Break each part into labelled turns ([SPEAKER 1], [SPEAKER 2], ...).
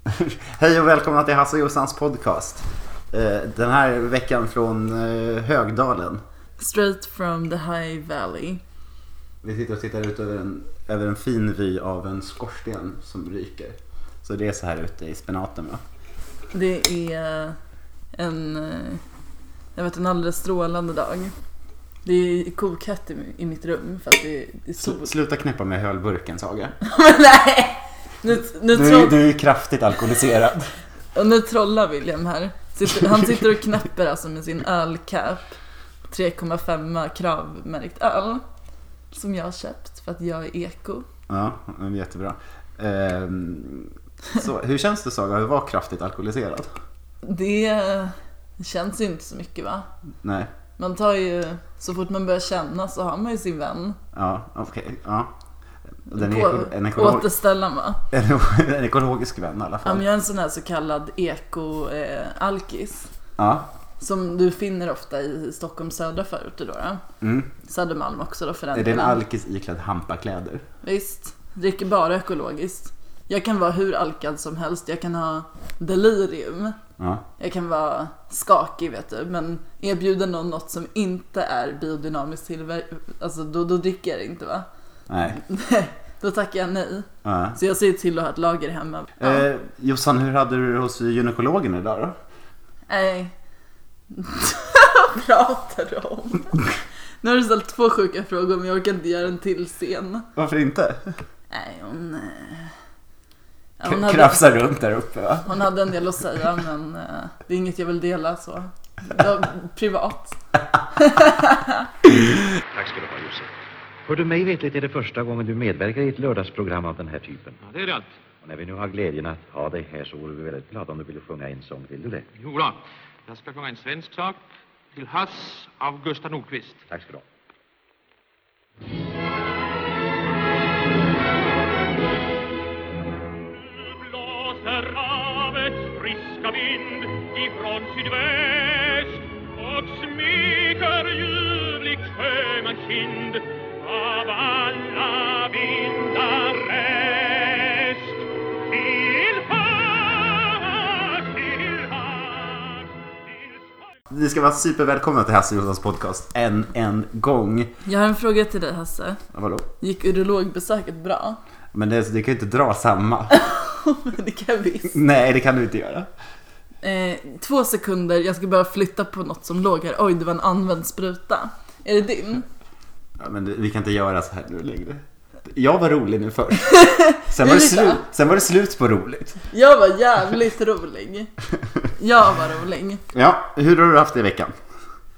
[SPEAKER 1] Hej och välkomna till Hasse och Jossans podcast. Eh, Den här veckan från eh, Högdalen.
[SPEAKER 2] Straight from the high valley.
[SPEAKER 1] Vi sitter och tittar ut över en, över en fin vy av en skorsten som ryker. Så det är så här ute i spenaten va?
[SPEAKER 2] Det är en, eh, jag vet, en alldeles strålande dag. Det är kokhett i, i mitt rum för att det, det är sol.
[SPEAKER 1] Sl- sluta knäppa med hölburken Saga.
[SPEAKER 2] Men nej! Nu, nu,
[SPEAKER 1] Du är,
[SPEAKER 2] troll,
[SPEAKER 1] du är ju kraftigt alkoholiserad.
[SPEAKER 2] och nu trollar William här. Sitter, han sitter och knäpper alltså med sin ölcap. 3,5 kravmärkt öl. Som jag har köpt för att jag är eko.
[SPEAKER 1] Ja, men jättebra. Ehm, Så, hur känns det Saga att vara kraftigt alkoholiserad?
[SPEAKER 2] Det känns ju inte så mycket va?
[SPEAKER 1] Nej.
[SPEAKER 2] Man tar ju, så fort man börjar känna så har man ju sin vän.
[SPEAKER 1] Ja, okej. Ja. Den är
[SPEAKER 2] på
[SPEAKER 1] eko- en, ekolo-
[SPEAKER 2] återställa mig.
[SPEAKER 1] en, en ekologisk vän i alla
[SPEAKER 2] Ja, men
[SPEAKER 1] fall.
[SPEAKER 2] jag är en sån här så kallad eko-alkis.
[SPEAKER 1] Ja.
[SPEAKER 2] Som du finner ofta i Stockholms södra förorter då. då.
[SPEAKER 1] Mm.
[SPEAKER 2] Södermalm också då för den
[SPEAKER 1] Är det en
[SPEAKER 2] delen.
[SPEAKER 1] alkis iklädd hampakläder?
[SPEAKER 2] Visst, dricker bara ekologiskt. Jag kan vara hur alkad som helst, jag kan ha delirium.
[SPEAKER 1] Ja.
[SPEAKER 2] Jag kan vara skakig vet du, men erbjuder någon något som inte är biodynamiskt tillverkat, alltså då, då dricker jag det inte va?
[SPEAKER 1] Nej.
[SPEAKER 2] Då tackar jag nej.
[SPEAKER 1] Ja.
[SPEAKER 2] Så jag ser till att ha ett lager hemma. Ja.
[SPEAKER 1] Eh, Jossan, hur hade du det hos gynekologen idag då?
[SPEAKER 2] Nej. Vad pratar du om? Nu har du ställt två sjuka frågor men jag orkar inte göra en till scen.
[SPEAKER 1] Varför inte?
[SPEAKER 2] Nej, hon... eh, ja,
[SPEAKER 1] K-
[SPEAKER 2] hon, hade,
[SPEAKER 1] Krafsar runt där uppe va?
[SPEAKER 2] hon hade en del att säga men eh, det är inget jag vill dela så. Det var privat.
[SPEAKER 3] Tack ska du ha, Josef.
[SPEAKER 4] För du mig vetligt är det första gången du medverkar i ett lördagsprogram av den här typen.
[SPEAKER 3] Ja, det är det allt.
[SPEAKER 4] Och när vi nu har glädjen att ha dig här så vore vi väldigt glada om du ville sjunga en sång. Vill du det?
[SPEAKER 3] Jo då. Jag ska sjunga en svensk sak till havs av Gustav Nordqvist.
[SPEAKER 4] Tack ska du ha.
[SPEAKER 5] blåser havets friska vind ifrån sydväst och smeker ljuvligt sjömans kind av alla vindar rest. Till havs, till havs, till havs
[SPEAKER 1] Ni ska vara supervälkomna till Hasse och Jossans podcast än en gång.
[SPEAKER 2] Jag har en fråga till dig Hasse.
[SPEAKER 1] Ja, vadå?
[SPEAKER 2] Gick urologbesöket bra?
[SPEAKER 1] Men det, det kan ju inte dra samma.
[SPEAKER 2] det kan jag visst.
[SPEAKER 1] Nej, det kan du inte göra.
[SPEAKER 2] Eh, två sekunder, jag ska bara flytta på något som låg här. Oj, det var en använd spruta. Är det din?
[SPEAKER 1] Ja, men det, vi kan inte göra så här nu längre. Jag var rolig nu först. Sen var, det
[SPEAKER 2] Lisa.
[SPEAKER 1] slut, sen var det slut på roligt.
[SPEAKER 2] Jag var jävligt rolig. Jag var rolig.
[SPEAKER 1] Ja, hur har du haft det i veckan?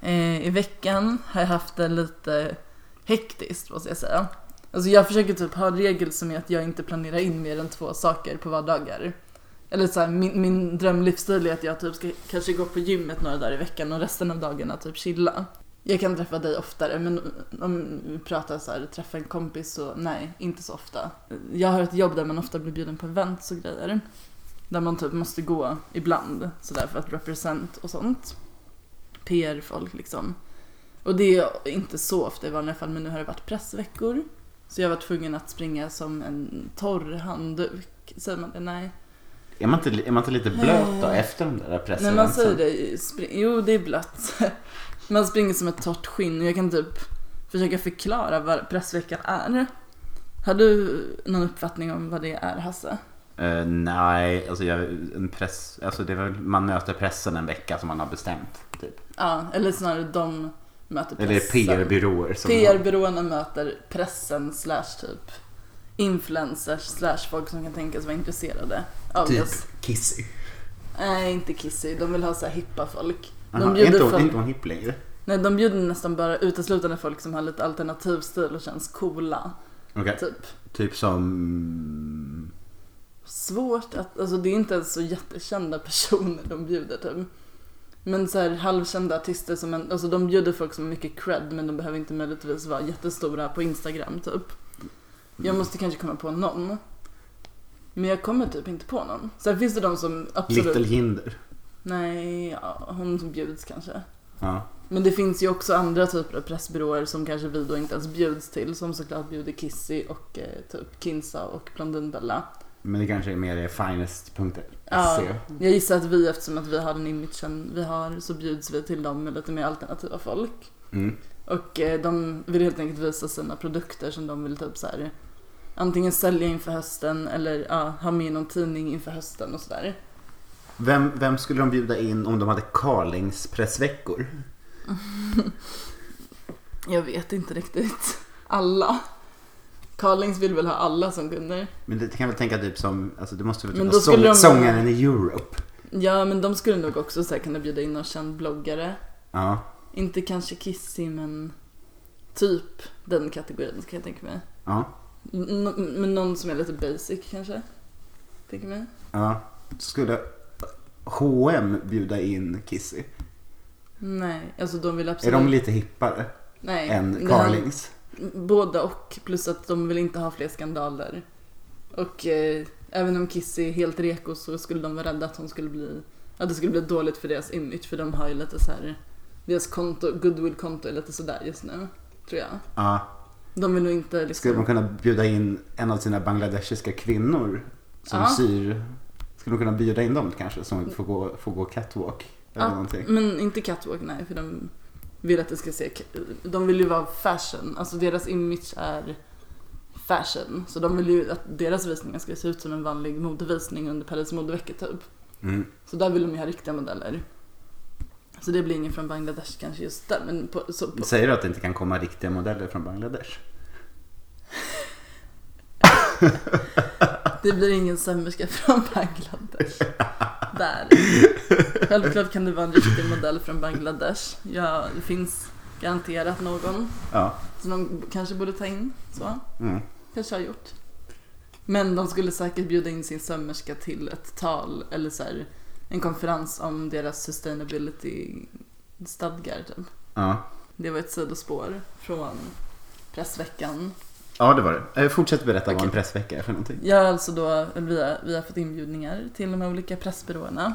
[SPEAKER 2] Eh, I veckan har jag haft det lite hektiskt måste jag säga. Alltså jag försöker typ ha en regel som är att jag inte planerar in mer än två saker på vardagar. Eller så här, min, min drömlivsstil är att jag typ ska kanske gå på gymmet några dagar i veckan och resten av dagarna typ chilla. Jag kan träffa dig oftare men om vi pratar så här, träffa en kompis så nej, inte så ofta. Jag har ett jobb där man ofta blir bjuden på events och grejer. Där man typ måste gå ibland sådär för att represent och sånt. PR-folk liksom. Och det är inte så ofta i vanliga fall, men nu har det varit pressveckor. Så jag var tvungen att springa som en torr handduk. Säger man det? Nej.
[SPEAKER 1] Är man inte, är man inte lite blöt då
[SPEAKER 2] Eh.
[SPEAKER 1] efter de där pressen?
[SPEAKER 2] När man säger det, spring, jo det är blött. Man springer som ett torrt skinn och jag kan typ försöka förklara vad pressveckan är. Har du någon uppfattning om vad det är Hasse?
[SPEAKER 1] Eh, nej, alltså, jag, en press, alltså det är väl, man möter pressen en vecka som man har bestämt. Typ.
[SPEAKER 2] Ja, eller snarare de möter pressen.
[SPEAKER 1] Eller PR-byråer. Som
[SPEAKER 2] PR-byråerna möter pressen slash typ influencers slash folk som kan tänkas vara intresserade av
[SPEAKER 1] Typ
[SPEAKER 2] oss.
[SPEAKER 1] Kissy.
[SPEAKER 2] Nej, inte Kissy. De vill ha så här hippa folk. De
[SPEAKER 1] Aha, är
[SPEAKER 2] bjuder
[SPEAKER 1] inte, hon-
[SPEAKER 2] folk-
[SPEAKER 1] är inte hon hipp längre?
[SPEAKER 2] Nej, de bjuder nästan bara uteslutande folk som har lite alternativ stil och känns coola.
[SPEAKER 1] Okej.
[SPEAKER 2] Typ.
[SPEAKER 1] Typ som...
[SPEAKER 2] Svårt att, alltså det är inte ens så jättekända personer de bjuder typ. Men så här halvkända artister som, en, alltså de bjuder folk som har mycket cred men de behöver inte möjligtvis vara jättestora på Instagram typ. Jag måste kanske komma på någon. Men jag kommer typ inte på någon. Sen finns det de som absolut...
[SPEAKER 1] Little Hinder.
[SPEAKER 2] Nej, ja, hon som bjuds kanske.
[SPEAKER 1] Ja.
[SPEAKER 2] Men det finns ju också andra typer av pressbyråer som kanske vi då inte ens bjuds till. Som såklart bjuder Kissy och eh, typ Kinsa och Blondinbella.
[SPEAKER 1] Men det kanske är mer det finest.se.
[SPEAKER 2] Ja, jag gissar att vi eftersom att vi har den imagen vi har så bjuds vi till dem med lite mer alternativa folk.
[SPEAKER 1] Mm.
[SPEAKER 2] Och eh, de vill helt enkelt visa sina produkter som de vill typ så här antingen sälja inför hösten eller ja, ha med i någon tidning inför hösten och sådär.
[SPEAKER 1] Vem, vem skulle de bjuda in om de hade Karlings pressveckor?
[SPEAKER 2] Jag vet inte riktigt. Alla. Carlings vill väl ha alla som kunder.
[SPEAKER 1] Men det kan jag väl tänka typ som, alltså det måste väl
[SPEAKER 2] Men
[SPEAKER 1] typ
[SPEAKER 2] då
[SPEAKER 1] vara sång,
[SPEAKER 2] skulle de-
[SPEAKER 1] sångaren i Europe.
[SPEAKER 2] Ja, men de skulle nog också så här, kunna bjuda in någon känd bloggare.
[SPEAKER 1] Ja.
[SPEAKER 2] Inte kanske Kissy, men typ den kategorin kan jag tänka mig.
[SPEAKER 1] Ja.
[SPEAKER 2] N- n- men någon som är lite basic kanske? Tänker mig.
[SPEAKER 1] Ja. Skulle H&M bjuda in Kissy?
[SPEAKER 2] Nej, alltså de vill
[SPEAKER 1] Är
[SPEAKER 2] absolut...
[SPEAKER 1] de lite hippare
[SPEAKER 2] Nej.
[SPEAKER 1] än
[SPEAKER 2] det här-
[SPEAKER 1] Carlings?
[SPEAKER 2] Båda och, plus att de vill inte ha fler skandaler. Och eh, även om Kissy är helt reko så skulle de vara rädda att hon skulle bli... Att det skulle bli dåligt för deras image, för de har ju lite så här... Deras konto, goodwill-konto är lite sådär just nu, tror jag.
[SPEAKER 1] Ja.
[SPEAKER 2] De vill nog inte liksom...
[SPEAKER 1] Skulle de kunna bjuda in en av sina bangladeshiska kvinnor som
[SPEAKER 2] Ja.
[SPEAKER 1] syr? Skulle de kunna bjuda in dem kanske som får gå, får gå catwalk? Eller
[SPEAKER 2] Ja, Mm.
[SPEAKER 1] någonting?
[SPEAKER 2] men inte catwalk, nej, för de vill att det ska se... De vill ju vara fashion, alltså deras image är fashion. Så de vill ju att deras visningar ska se ut som en vanlig modevisning under Paris modevecka typ.
[SPEAKER 1] Mm.
[SPEAKER 2] Så där vill de ju ha riktiga modeller. Så det blir ingen från Bangladesh kanske just där, men på, så på,
[SPEAKER 1] Säger du att det inte kan komma riktiga modeller från Bangladesh?
[SPEAKER 2] det blir ingen sömmerska från Bangladesh. Där. Självklart kan det vara en riktig modell från Bangladesh. Ja, det finns garanterat någon
[SPEAKER 1] Ja.
[SPEAKER 2] som de kanske borde ta in. Så.
[SPEAKER 1] Mm.
[SPEAKER 2] Kanske har gjort. Men de skulle säkert bjuda in sin sömmerska till ett tal eller så här, en konferens om deras sustainability-stadgar. Typ.
[SPEAKER 1] Ja.
[SPEAKER 2] Det var ett sidospår från Pressveckan.
[SPEAKER 1] ja, det var det. Eh, Fortsätt berätta vad en
[SPEAKER 2] Okej.
[SPEAKER 1] pressvecka är för någonting.
[SPEAKER 2] Ja, alltså då, eller vi, har, vi har fått inbjudningar till de här olika pressbyråerna.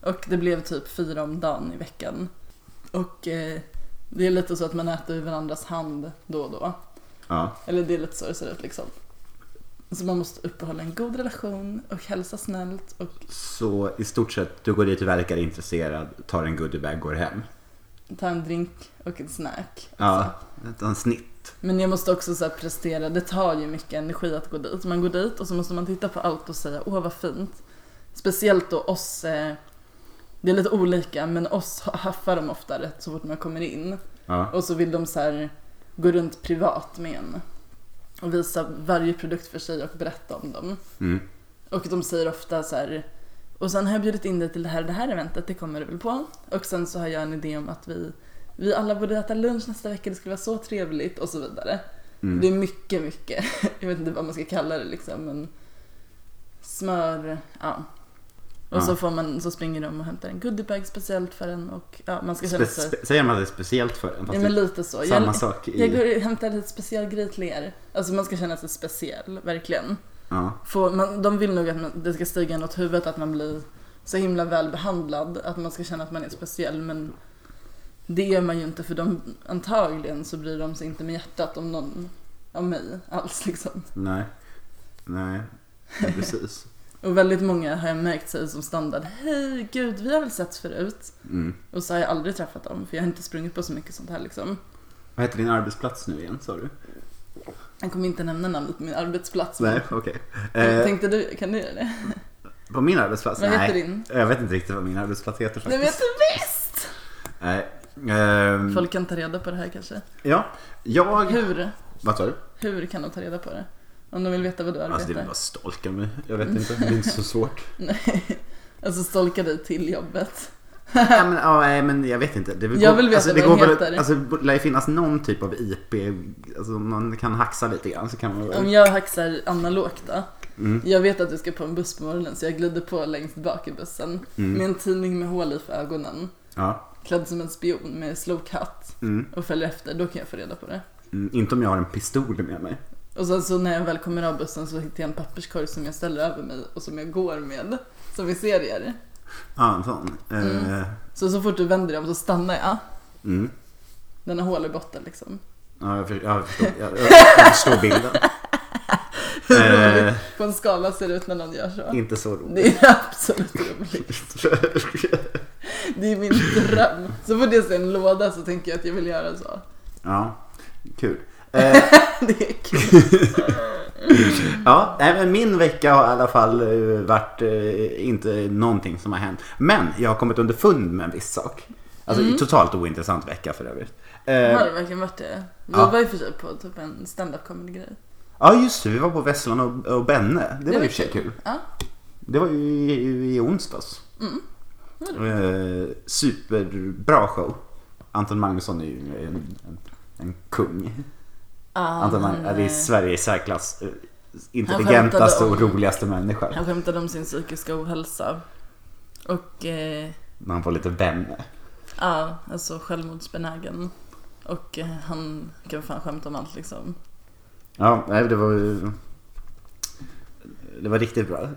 [SPEAKER 2] Och det blev typ fyra om dagen i veckan. Och eh, det är lite så att man äter ur varandras hand då och då.
[SPEAKER 1] Ja.
[SPEAKER 2] Eller det är lite så det ser ut liksom. Så man måste uppehålla en god relation och hälsa snällt och
[SPEAKER 1] Så i stort sett, du går dit och verkar intresserad, tar en goodiebag, går hem.
[SPEAKER 2] ta en drink och en snack.
[SPEAKER 1] Ja, ett en snitt.
[SPEAKER 2] Men jag måste också så här prestera, det tar ju mycket energi att gå dit. Man går dit och så måste man titta på allt och säga åh vad fint. Speciellt då oss, eh, det är lite olika men oss haffar de ofta rätt så fort man kommer in.
[SPEAKER 1] Ja.
[SPEAKER 2] Och så vill de så här gå runt privat med en. Och visa varje produkt för sig och berätta om dem.
[SPEAKER 1] Mm.
[SPEAKER 2] Och de säger ofta så här och sen har jag bjudit in dig till det här och det här eventet, det kommer du väl på? Och sen så har jag en idé om att vi, vi alla borde äta lunch nästa vecka, det skulle vara så trevligt och så vidare.
[SPEAKER 1] Mm.
[SPEAKER 2] Det är mycket, mycket, jag vet inte vad man ska kalla det liksom, men smör, ja. Och så,
[SPEAKER 1] Ja.
[SPEAKER 2] får man, så springer de och hämtar en goodiebag speciellt för en och ja, man ska
[SPEAKER 1] Spe-
[SPEAKER 2] känna sig...
[SPEAKER 1] spe- säger man att det är speciellt för en? fast
[SPEAKER 2] Ja
[SPEAKER 1] det-
[SPEAKER 2] men lite så.
[SPEAKER 1] samma
[SPEAKER 2] jag,
[SPEAKER 1] sak i-
[SPEAKER 2] jag går och hämtar lite speciell grej till er. Alltså man ska känna sig speciell, verkligen.
[SPEAKER 1] ja.
[SPEAKER 2] Får man, de vill nog att man, det ska stiga något huvudet att man blir så himla väl behandlad, att man ska känna att man är speciell men det är man ju inte för de, antagligen så bryr de sig inte med hjärtat om någon, om mig alls liksom.
[SPEAKER 1] Nej. Nej, ja, precis.
[SPEAKER 2] Och väldigt många har jag märkt säger som standard, hej gud vi har väl setts förut.
[SPEAKER 1] Mm.
[SPEAKER 2] Och så har jag aldrig träffat dem för jag har inte sprungit på så mycket sånt här liksom.
[SPEAKER 1] Vad heter din arbetsplats nu igen sa du?
[SPEAKER 2] Jag kommer inte nämna namnet på min arbetsplats.
[SPEAKER 1] Nej, okej. Eh,
[SPEAKER 2] Tänkte du, kan du göra det?
[SPEAKER 1] på min arbetsplats?
[SPEAKER 2] Vad
[SPEAKER 1] Nej.
[SPEAKER 2] heter din?
[SPEAKER 1] Jag vet inte riktigt vad min arbetsplats heter
[SPEAKER 2] Nej
[SPEAKER 1] faktiskt.
[SPEAKER 2] men du visst!
[SPEAKER 1] Nej. Ehm,
[SPEAKER 2] Folk kan ta reda på det här kanske.
[SPEAKER 1] Ja, jag...
[SPEAKER 2] Hur?
[SPEAKER 1] Vad sa du?
[SPEAKER 2] Hur kan de ta reda på det? Om de vill veta vad du arbetar?
[SPEAKER 1] Alltså det är väl bara stalka mig. Jag
[SPEAKER 2] Mm.
[SPEAKER 1] vet inte, det är inte så svårt.
[SPEAKER 2] Nej. Alltså stolka dig till jobbet.
[SPEAKER 1] Ja, men, ja, nej, men jag vet inte. Det
[SPEAKER 2] Jag vill veta
[SPEAKER 1] det
[SPEAKER 2] vad
[SPEAKER 1] går väl-
[SPEAKER 2] den heter.
[SPEAKER 1] Alltså, det lär ju finnas någon typ av IP. Alltså, om man kan haxa lite grann så kan man väl...
[SPEAKER 2] Om jag haxar analogt då.
[SPEAKER 1] Mm.
[SPEAKER 2] Jag vet att du ska på en buss på morgonen så jag glider på längst bak i bussen.
[SPEAKER 1] Mm.
[SPEAKER 2] Med en tidning med hål i för ögonen.
[SPEAKER 1] Ja.
[SPEAKER 2] Klädd som en spion med slokhatt. Och följer efter, då kan jag få reda på det.
[SPEAKER 1] Mm, inte om jag har en pistol med mig.
[SPEAKER 2] Och sen så när jag väl kommer av bussen så hittar jag en papperskorg som jag ställer över mig och som jag går med. Som i serier.
[SPEAKER 1] Ja, en sån. Eh,
[SPEAKER 2] Så så fort du vänder dig om så stannar jag.
[SPEAKER 1] Mm.
[SPEAKER 2] Den har hål i botten liksom.
[SPEAKER 1] ja, jag, för, jag, förstår, jag, jag, jag förstår bilden.
[SPEAKER 2] Hur
[SPEAKER 1] Eh.
[SPEAKER 2] roligt på en skala ser det ut när någon gör så?
[SPEAKER 1] Inte så roligt.
[SPEAKER 2] Det är absolut roligt. Det är min dröm. Så fort jag ser en låda så tänker jag att jag vill göra så.
[SPEAKER 1] ja, kul. Eh,
[SPEAKER 2] Det är kul.
[SPEAKER 1] Ja, nej, men min vecka har i alla fall eh, varit eh, inte någonting som har hänt. Men jag har kommit underfund med en viss sak. Alltså totalt ointressant vecka för övrigt.
[SPEAKER 2] Har
[SPEAKER 1] Eh,
[SPEAKER 2] det verkligen varit det? Vi
[SPEAKER 1] Ja.
[SPEAKER 2] var ju för sig på typ en stand-up comedy grej.
[SPEAKER 1] ja just det, vi var på Vesslan och, och Benne. Det var ju i och för sig kul.
[SPEAKER 2] Ja.
[SPEAKER 1] Det var ju i, i, i onsdags. Eh, superbra show. Anton Magnusson är ju en, en, en kung.
[SPEAKER 2] Ah,
[SPEAKER 1] Anton Magnusson är i Sverige i särklass eh, intelligentaste
[SPEAKER 2] eh, om-
[SPEAKER 1] och roligaste människa.
[SPEAKER 2] Han skämtade om sin psykiska ohälsa. Och eh,
[SPEAKER 1] När han får lite vänner.
[SPEAKER 2] ja, alltså självmordsbenägen. Och eh, han kan fan skämta om allt liksom.
[SPEAKER 1] Ja, nej, det var ju- Det var riktigt bra.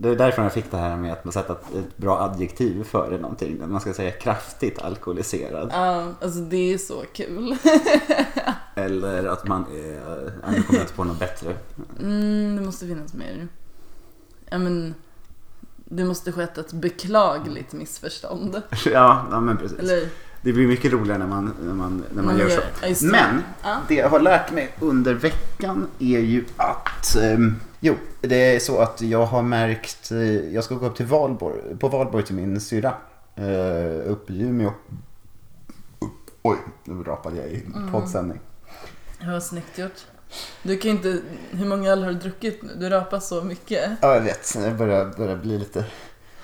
[SPEAKER 1] Det är därför jag fick det här med att man sätter ett- ett bra adjektiv före någonting. Man ska säga kraftigt alkoholiserad.
[SPEAKER 2] Ja, alltså det är så kul.
[SPEAKER 1] Eller att man är... ja, Nu kommer jag inte på något bättre.
[SPEAKER 2] Mm, det måste finnas mer. Ja men, det måste skett ett beklagligt missförstånd.
[SPEAKER 1] Ja, ja men precis.
[SPEAKER 2] Eller?
[SPEAKER 1] Det blir mycket roligare när man, när man, när man
[SPEAKER 2] Man
[SPEAKER 1] gör
[SPEAKER 2] gör-
[SPEAKER 1] så.
[SPEAKER 2] ja, just det.
[SPEAKER 1] Men
[SPEAKER 2] Ja.
[SPEAKER 1] det jag har lärt mig under veckan är ju att... ehm, jo, det är så att jag har märkt... eh, jag ska gå upp till Valborg, på Valborg till min syrra. eh, upp i Umeå. Oj, nu rapade jag i
[SPEAKER 2] Mm.
[SPEAKER 1] poddsändning.
[SPEAKER 2] Det var snyggt gjort. Du kan ju inte, hur många öl har du druckit nu? Du rapar så mycket.
[SPEAKER 1] Ja, jag vet. Jag börjar, börjar bli lite...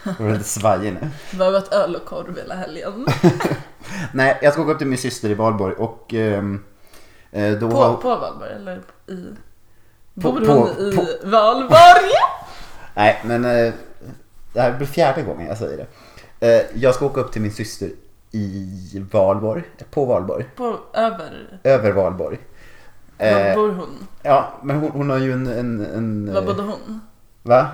[SPEAKER 1] Jag börjar lite svajig nu.
[SPEAKER 2] Du har varit öl och korv hela helgen.
[SPEAKER 1] Nej, jag ska gå upp till min syster i Valborg och... ehm, eh, då
[SPEAKER 2] På,
[SPEAKER 1] har-
[SPEAKER 2] på Valborg eller i?
[SPEAKER 1] På-
[SPEAKER 2] Bor
[SPEAKER 1] på-
[SPEAKER 2] hon i Valborg?
[SPEAKER 1] Nej, men eh, det här blir fjärde gången jag säger det. Eh, jag ska åka upp till min syster i Valborg, på Valborg,
[SPEAKER 2] På, över,
[SPEAKER 1] över Valborg.
[SPEAKER 2] var
[SPEAKER 1] Eh,
[SPEAKER 2] bor hon?
[SPEAKER 1] ja, men hon, hon har ju en... en, en
[SPEAKER 2] Var
[SPEAKER 1] eh,
[SPEAKER 2] bodde hon?
[SPEAKER 1] va?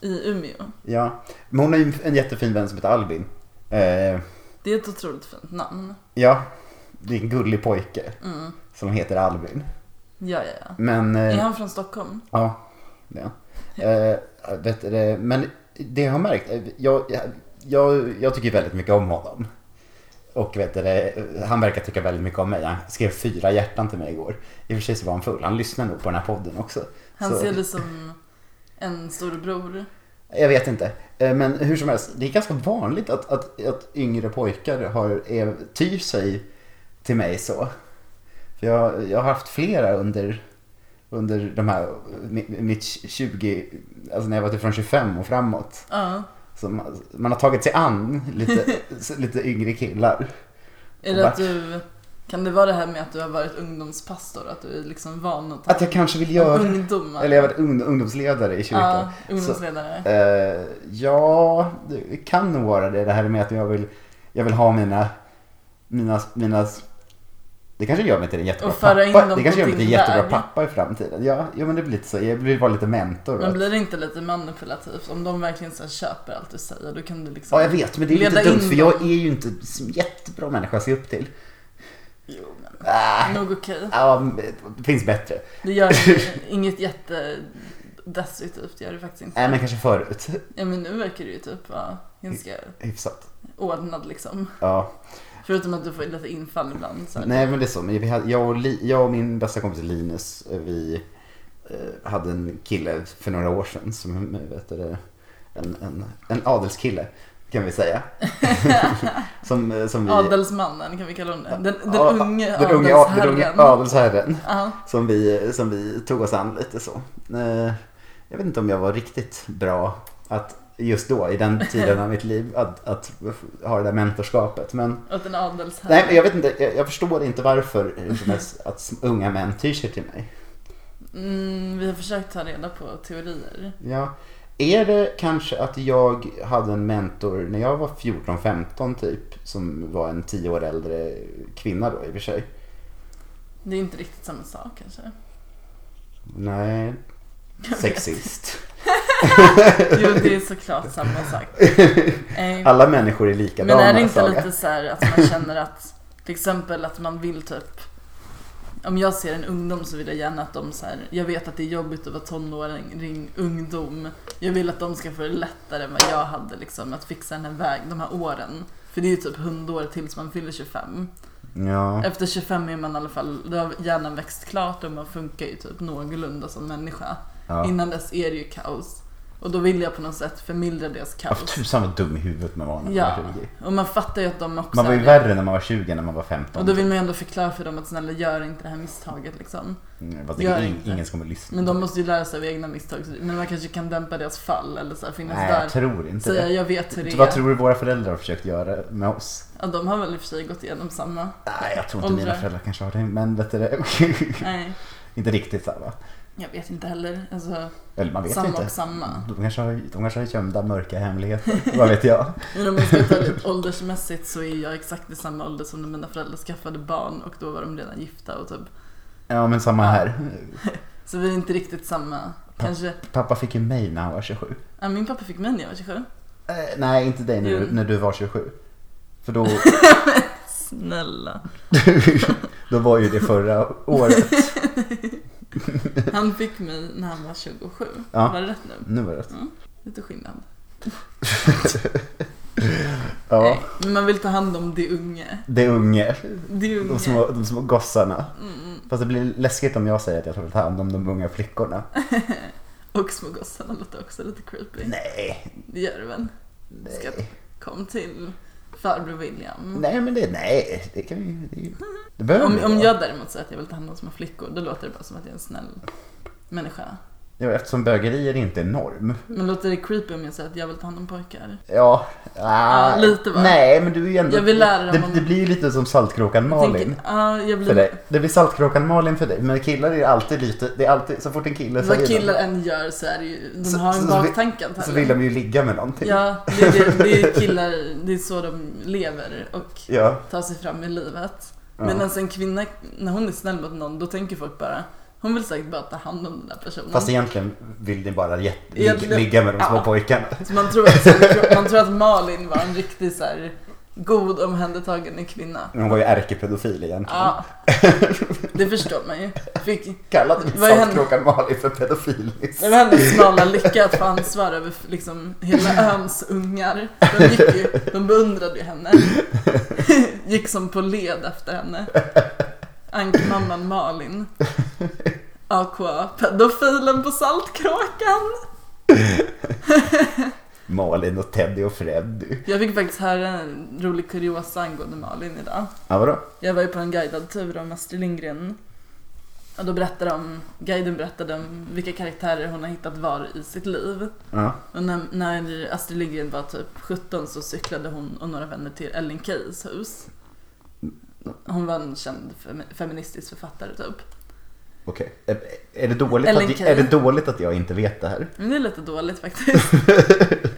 [SPEAKER 2] I Umeå.
[SPEAKER 1] Ja. Men hon har ju en, en jättefin vän som heter Albin. Eh,
[SPEAKER 2] Det är ett otroligt fint namn.
[SPEAKER 1] ja, det är en gullig pojke som heter Albin.
[SPEAKER 2] Ja, ja, ja.
[SPEAKER 1] Men... eh,
[SPEAKER 2] Är han från Stockholm?
[SPEAKER 1] Ja, det är han. Eh, vet du det, men det jag har märkt, eh, jag, jag- jag, jag tycker väldigt mycket om honom. Och vet du, det, han verkar tycka väldigt mycket om mig. Han skrev fyra hjärtan till mig igår. I och för sig så var han full. Han lyssnar nog på den här podden också.
[SPEAKER 2] Han
[SPEAKER 1] så,
[SPEAKER 2] ser ut som en storebror.
[SPEAKER 1] Jag vet inte. Eh, Men hur som helst, det är ganska vanligt att, att, att yngre pojkar har, är, tyr sig till mig så. För jag, jag har haft flera under, under de här, mi- mitt 20, alltså när jag var typ från 25 och framåt.
[SPEAKER 2] Ja.
[SPEAKER 1] Så man, man har tagit sig an lite, lite yngre killar.
[SPEAKER 2] Är
[SPEAKER 1] Och
[SPEAKER 2] det
[SPEAKER 1] vart-
[SPEAKER 2] att du, kan det vara det här med att du har varit ungdomspastor? Att du är liksom van att ta
[SPEAKER 1] Att jag kanske vill göra,
[SPEAKER 2] ungdomar?
[SPEAKER 1] Alltså, eller jag har varit ung, ungdomsledare i kyrkan.
[SPEAKER 2] ja,
[SPEAKER 1] Så-
[SPEAKER 2] ungdomsledare.
[SPEAKER 1] Eh, ja, det kan nog vara det. Det här med att jag vill, jag vill ha mina, mina, mina... Det kanske gör mig till en jättebra
[SPEAKER 2] Och föra in
[SPEAKER 1] pappa.
[SPEAKER 2] dem
[SPEAKER 1] Det kanske
[SPEAKER 2] på
[SPEAKER 1] gör mig till en
[SPEAKER 2] din
[SPEAKER 1] jättebra
[SPEAKER 2] väg.
[SPEAKER 1] pappa i framtiden. Ja, ja, men det blir lite så. Jag blir bara lite mentor.
[SPEAKER 2] Men
[SPEAKER 1] Att,
[SPEAKER 2] blir det inte lite manipulativt om de verkligen så här köper allt du säger? Då kan du liksom
[SPEAKER 1] ja, jag vet. Men det är lite
[SPEAKER 2] leda
[SPEAKER 1] dumt
[SPEAKER 2] in
[SPEAKER 1] för jag
[SPEAKER 2] dem.
[SPEAKER 1] är ju inte en jättebra människa att se upp till.
[SPEAKER 2] Jo, men
[SPEAKER 1] Ah,
[SPEAKER 2] nog okej.
[SPEAKER 1] ja, men det finns bättre.
[SPEAKER 2] Det gör inget- inget jättedestruktivt, gör det faktiskt inte.
[SPEAKER 1] Nej, Äh, men kanske förut.
[SPEAKER 2] Ja, men nu verkar du ju typ vara ganska
[SPEAKER 1] Hyfsat.
[SPEAKER 2] ordnad liksom.
[SPEAKER 1] Ja.
[SPEAKER 2] Förutom att du får lite infall ibland. Så här.
[SPEAKER 1] Nej men det är så, men vi hade, jag, och Li, jag och min bästa kompis Linus, eh, vi eh, hade en kille för några år sedan som, eh, vet du, det, en, en, en adelskille kan vi säga. som, eh, som vi,
[SPEAKER 2] Adelsmannen kan vi kalla honom det. Den, den
[SPEAKER 1] Ja,
[SPEAKER 2] unge
[SPEAKER 1] den unge, a- den unge
[SPEAKER 2] adelsherren.
[SPEAKER 1] adelsherren.
[SPEAKER 2] Ja.
[SPEAKER 1] Som vi, som vi tog oss an lite så. Eh, Jag vet inte om jag var riktigt bra att just då, i den tiden av mitt liv, att, att ha det där mentorskapet. Men
[SPEAKER 2] Åt en adelsherre.
[SPEAKER 1] Nej, men jag vet inte. Jag, jag förstår inte varför hur som helst, att s- unga män tyr sig till mig.
[SPEAKER 2] mm, vi har försökt ta reda på teorier.
[SPEAKER 1] Ja. Är det kanske att jag hade en mentor när jag var 14-15 typ, som var en 10 år äldre kvinna då i och för sig?
[SPEAKER 2] Det är inte riktigt samma sak kanske.
[SPEAKER 1] Nej, sexist.
[SPEAKER 2] Jo, det är såklart samma sak. Eh,
[SPEAKER 1] Alla människor är likadana.
[SPEAKER 2] Men är det inte
[SPEAKER 1] Saga.
[SPEAKER 2] lite så här att man känner att till exempel att man vill typ om jag ser en ungdom så vill jag gärna att de så här, jag vet att det är jobbigt att vara tonåring, ring, ungdom. Jag vill att de ska få det lättare än vad jag hade liksom, att fixa den här vägen, de här åren. För det är ju typ 100 år tills man fyller 25.
[SPEAKER 1] Ja.
[SPEAKER 2] Efter 25 är man i alla fall, då har hjärnan växt klart och man funkar ju typ någorlunda som människa.
[SPEAKER 1] Ja.
[SPEAKER 2] Innan dess är det ju kaos. Och då vill jag på något sätt förmildra deras
[SPEAKER 1] Ja, för
[SPEAKER 2] kaos.
[SPEAKER 1] tusan vad dum i huvudet man var när man
[SPEAKER 2] Ja,
[SPEAKER 1] var 20.
[SPEAKER 2] och man fattar ju att de också
[SPEAKER 1] Man var ju
[SPEAKER 2] är-
[SPEAKER 1] värre när man var 20 än när man var 15.
[SPEAKER 2] Och då vill man ju ändå förklara för dem att snälla gör inte det här misstaget liksom.
[SPEAKER 1] Mm, fast
[SPEAKER 2] Gör
[SPEAKER 1] det, ing-
[SPEAKER 2] inte.
[SPEAKER 1] ingen som kommer lyssna.
[SPEAKER 2] Men de måste ju lära sig av egna misstag. så- Men man kanske kan dämpa deras fall eller så här, finnas
[SPEAKER 1] Nej, jag
[SPEAKER 2] där.
[SPEAKER 1] tror inte
[SPEAKER 2] Säga
[SPEAKER 1] det.
[SPEAKER 2] jag vet hur det
[SPEAKER 1] Vad
[SPEAKER 2] är.
[SPEAKER 1] tror du våra föräldrar har försökt göra med oss?
[SPEAKER 2] Ja, de har väl i och för sig gått igenom samma.
[SPEAKER 1] Nej, jag tror inte mina
[SPEAKER 2] Åldrar.
[SPEAKER 1] föräldrar kanske har det. Men vet du det?
[SPEAKER 2] Nej,
[SPEAKER 1] inte riktigt samma.
[SPEAKER 2] jag vet inte heller. Alltså,
[SPEAKER 1] Eller man vet
[SPEAKER 2] samma
[SPEAKER 1] inte.
[SPEAKER 2] och samma.
[SPEAKER 1] De kanske, har, de kanske har gömda mörka hemligheter. Vad vet jag?
[SPEAKER 2] Men om man ska ta det åldersmässigt så är jag exakt i samma ålder som när mina föräldrar skaffade barn och då var de redan gifta och typ.
[SPEAKER 1] Ja, men samma här.
[SPEAKER 2] Så vi är inte riktigt samma. Kanske,
[SPEAKER 1] Pappa fick ju mig när han var 27.
[SPEAKER 2] ja, min pappa fick mig när jag var 27.
[SPEAKER 1] Eh, nej, inte dig när, du-
[SPEAKER 2] Jo.
[SPEAKER 1] när du var 27. För då,
[SPEAKER 2] Snälla.
[SPEAKER 1] då var ju det förra året.
[SPEAKER 2] Han fick mig när han var 27.
[SPEAKER 1] Ja.
[SPEAKER 2] Var det rätt nu?
[SPEAKER 1] Nu var det rätt.
[SPEAKER 2] Lite skillnad.
[SPEAKER 1] Ja,
[SPEAKER 2] Nej, men man vill ta hand om de unge.
[SPEAKER 1] det är unge.
[SPEAKER 2] De unge. Mm,
[SPEAKER 1] De små, de små gossarna. Fast det blir läskigt om jag säger att jag tar ta hand om de unga flickorna.
[SPEAKER 2] Och små gossarna låter också lite creepy.
[SPEAKER 1] Nej,
[SPEAKER 2] Det gör det väl? Ska
[SPEAKER 1] nej.
[SPEAKER 2] kom till farbror William.
[SPEAKER 1] Mm. Nej, men det, nej, det kan ju... Det, är ju- det behöver
[SPEAKER 2] Om,
[SPEAKER 1] vi
[SPEAKER 2] om
[SPEAKER 1] inte.
[SPEAKER 2] jag däremot säger att jag vill ta hand om små flickor, då låter det bara som att jag är en snäll människa.
[SPEAKER 1] Ja, Eftersom bögerier inte är norm.
[SPEAKER 2] Men låter det creepy om jag säger att jag vill ta hand om pojkar?
[SPEAKER 1] Ja, ah,
[SPEAKER 2] Ja, lite va?
[SPEAKER 1] Nej, men du är ju ändå...
[SPEAKER 2] Jag vill lära dem
[SPEAKER 1] det,
[SPEAKER 2] om-
[SPEAKER 1] det blir ju lite som Saltkråkan Malin.
[SPEAKER 2] Tänker- Ja, jag
[SPEAKER 1] För dig.
[SPEAKER 2] blir...
[SPEAKER 1] Det blir Saltkråkan Malin för dig. Men killar är alltid lite... Det är alltid, så fort en kille
[SPEAKER 2] Vad
[SPEAKER 1] säger
[SPEAKER 2] killar än gör så är det ju, de
[SPEAKER 1] Så-
[SPEAKER 2] har en
[SPEAKER 1] så vi-
[SPEAKER 2] baktanke
[SPEAKER 1] något, så
[SPEAKER 2] antagligen.
[SPEAKER 1] vill de ju ligga med någonting.
[SPEAKER 2] Ja, det är, det, det är killar, det är så de lever och
[SPEAKER 1] Ja.
[SPEAKER 2] tar sig fram i livet.
[SPEAKER 1] Ja.
[SPEAKER 2] Medan en kvinna, när hon är snäll mot någon, då tänker folk bara, hon vill säkert bara ta hand om den där personen.
[SPEAKER 1] Fast egentligen vill ni bara jätte- lig-
[SPEAKER 2] Egentligen-
[SPEAKER 1] ligga med de små
[SPEAKER 2] ja.
[SPEAKER 1] pojkarna.
[SPEAKER 2] Så man, tror att, man tror att Malin var en riktig så här, god omhändertagande kvinna.
[SPEAKER 1] Men Hon var ju ärkepedofil egentligen.
[SPEAKER 2] Ja, det förstår man ju. Fick,
[SPEAKER 1] Kallade vi
[SPEAKER 2] Vad är henne-
[SPEAKER 1] Saltkråkan Malin för pedofil nyss?
[SPEAKER 2] det var hennes smala lycka att få ansvar över liksom, hela öns ungar. De, gick ju, de beundrade ju henne. Gick som på led efter henne. Ankmamman Malin. AKA, pedofilen på Saltkråkan.
[SPEAKER 1] Malin och Teddy och Freddy.
[SPEAKER 2] Jag fick faktiskt höra en rolig kuriosa angående Malin idag.
[SPEAKER 1] Ja, vadå?
[SPEAKER 2] Jag var ju på en guidad tur om Astrid Lindgren. Och då berättade de, guiden berättade om vilka karaktärer hon har hittat var i sitt liv.
[SPEAKER 1] Ja.
[SPEAKER 2] Och när, när Astrid Lindgren var typ 17 så cyklade hon och några vänner till Ellen Keys hus. Hon var en känd fem- feministisk författare typ.
[SPEAKER 1] Okej. Är- Är, det dåligt
[SPEAKER 2] Ellen
[SPEAKER 1] att,
[SPEAKER 2] Key.
[SPEAKER 1] är det dåligt att jag inte vet det här?
[SPEAKER 2] Men det är lite dåligt faktiskt.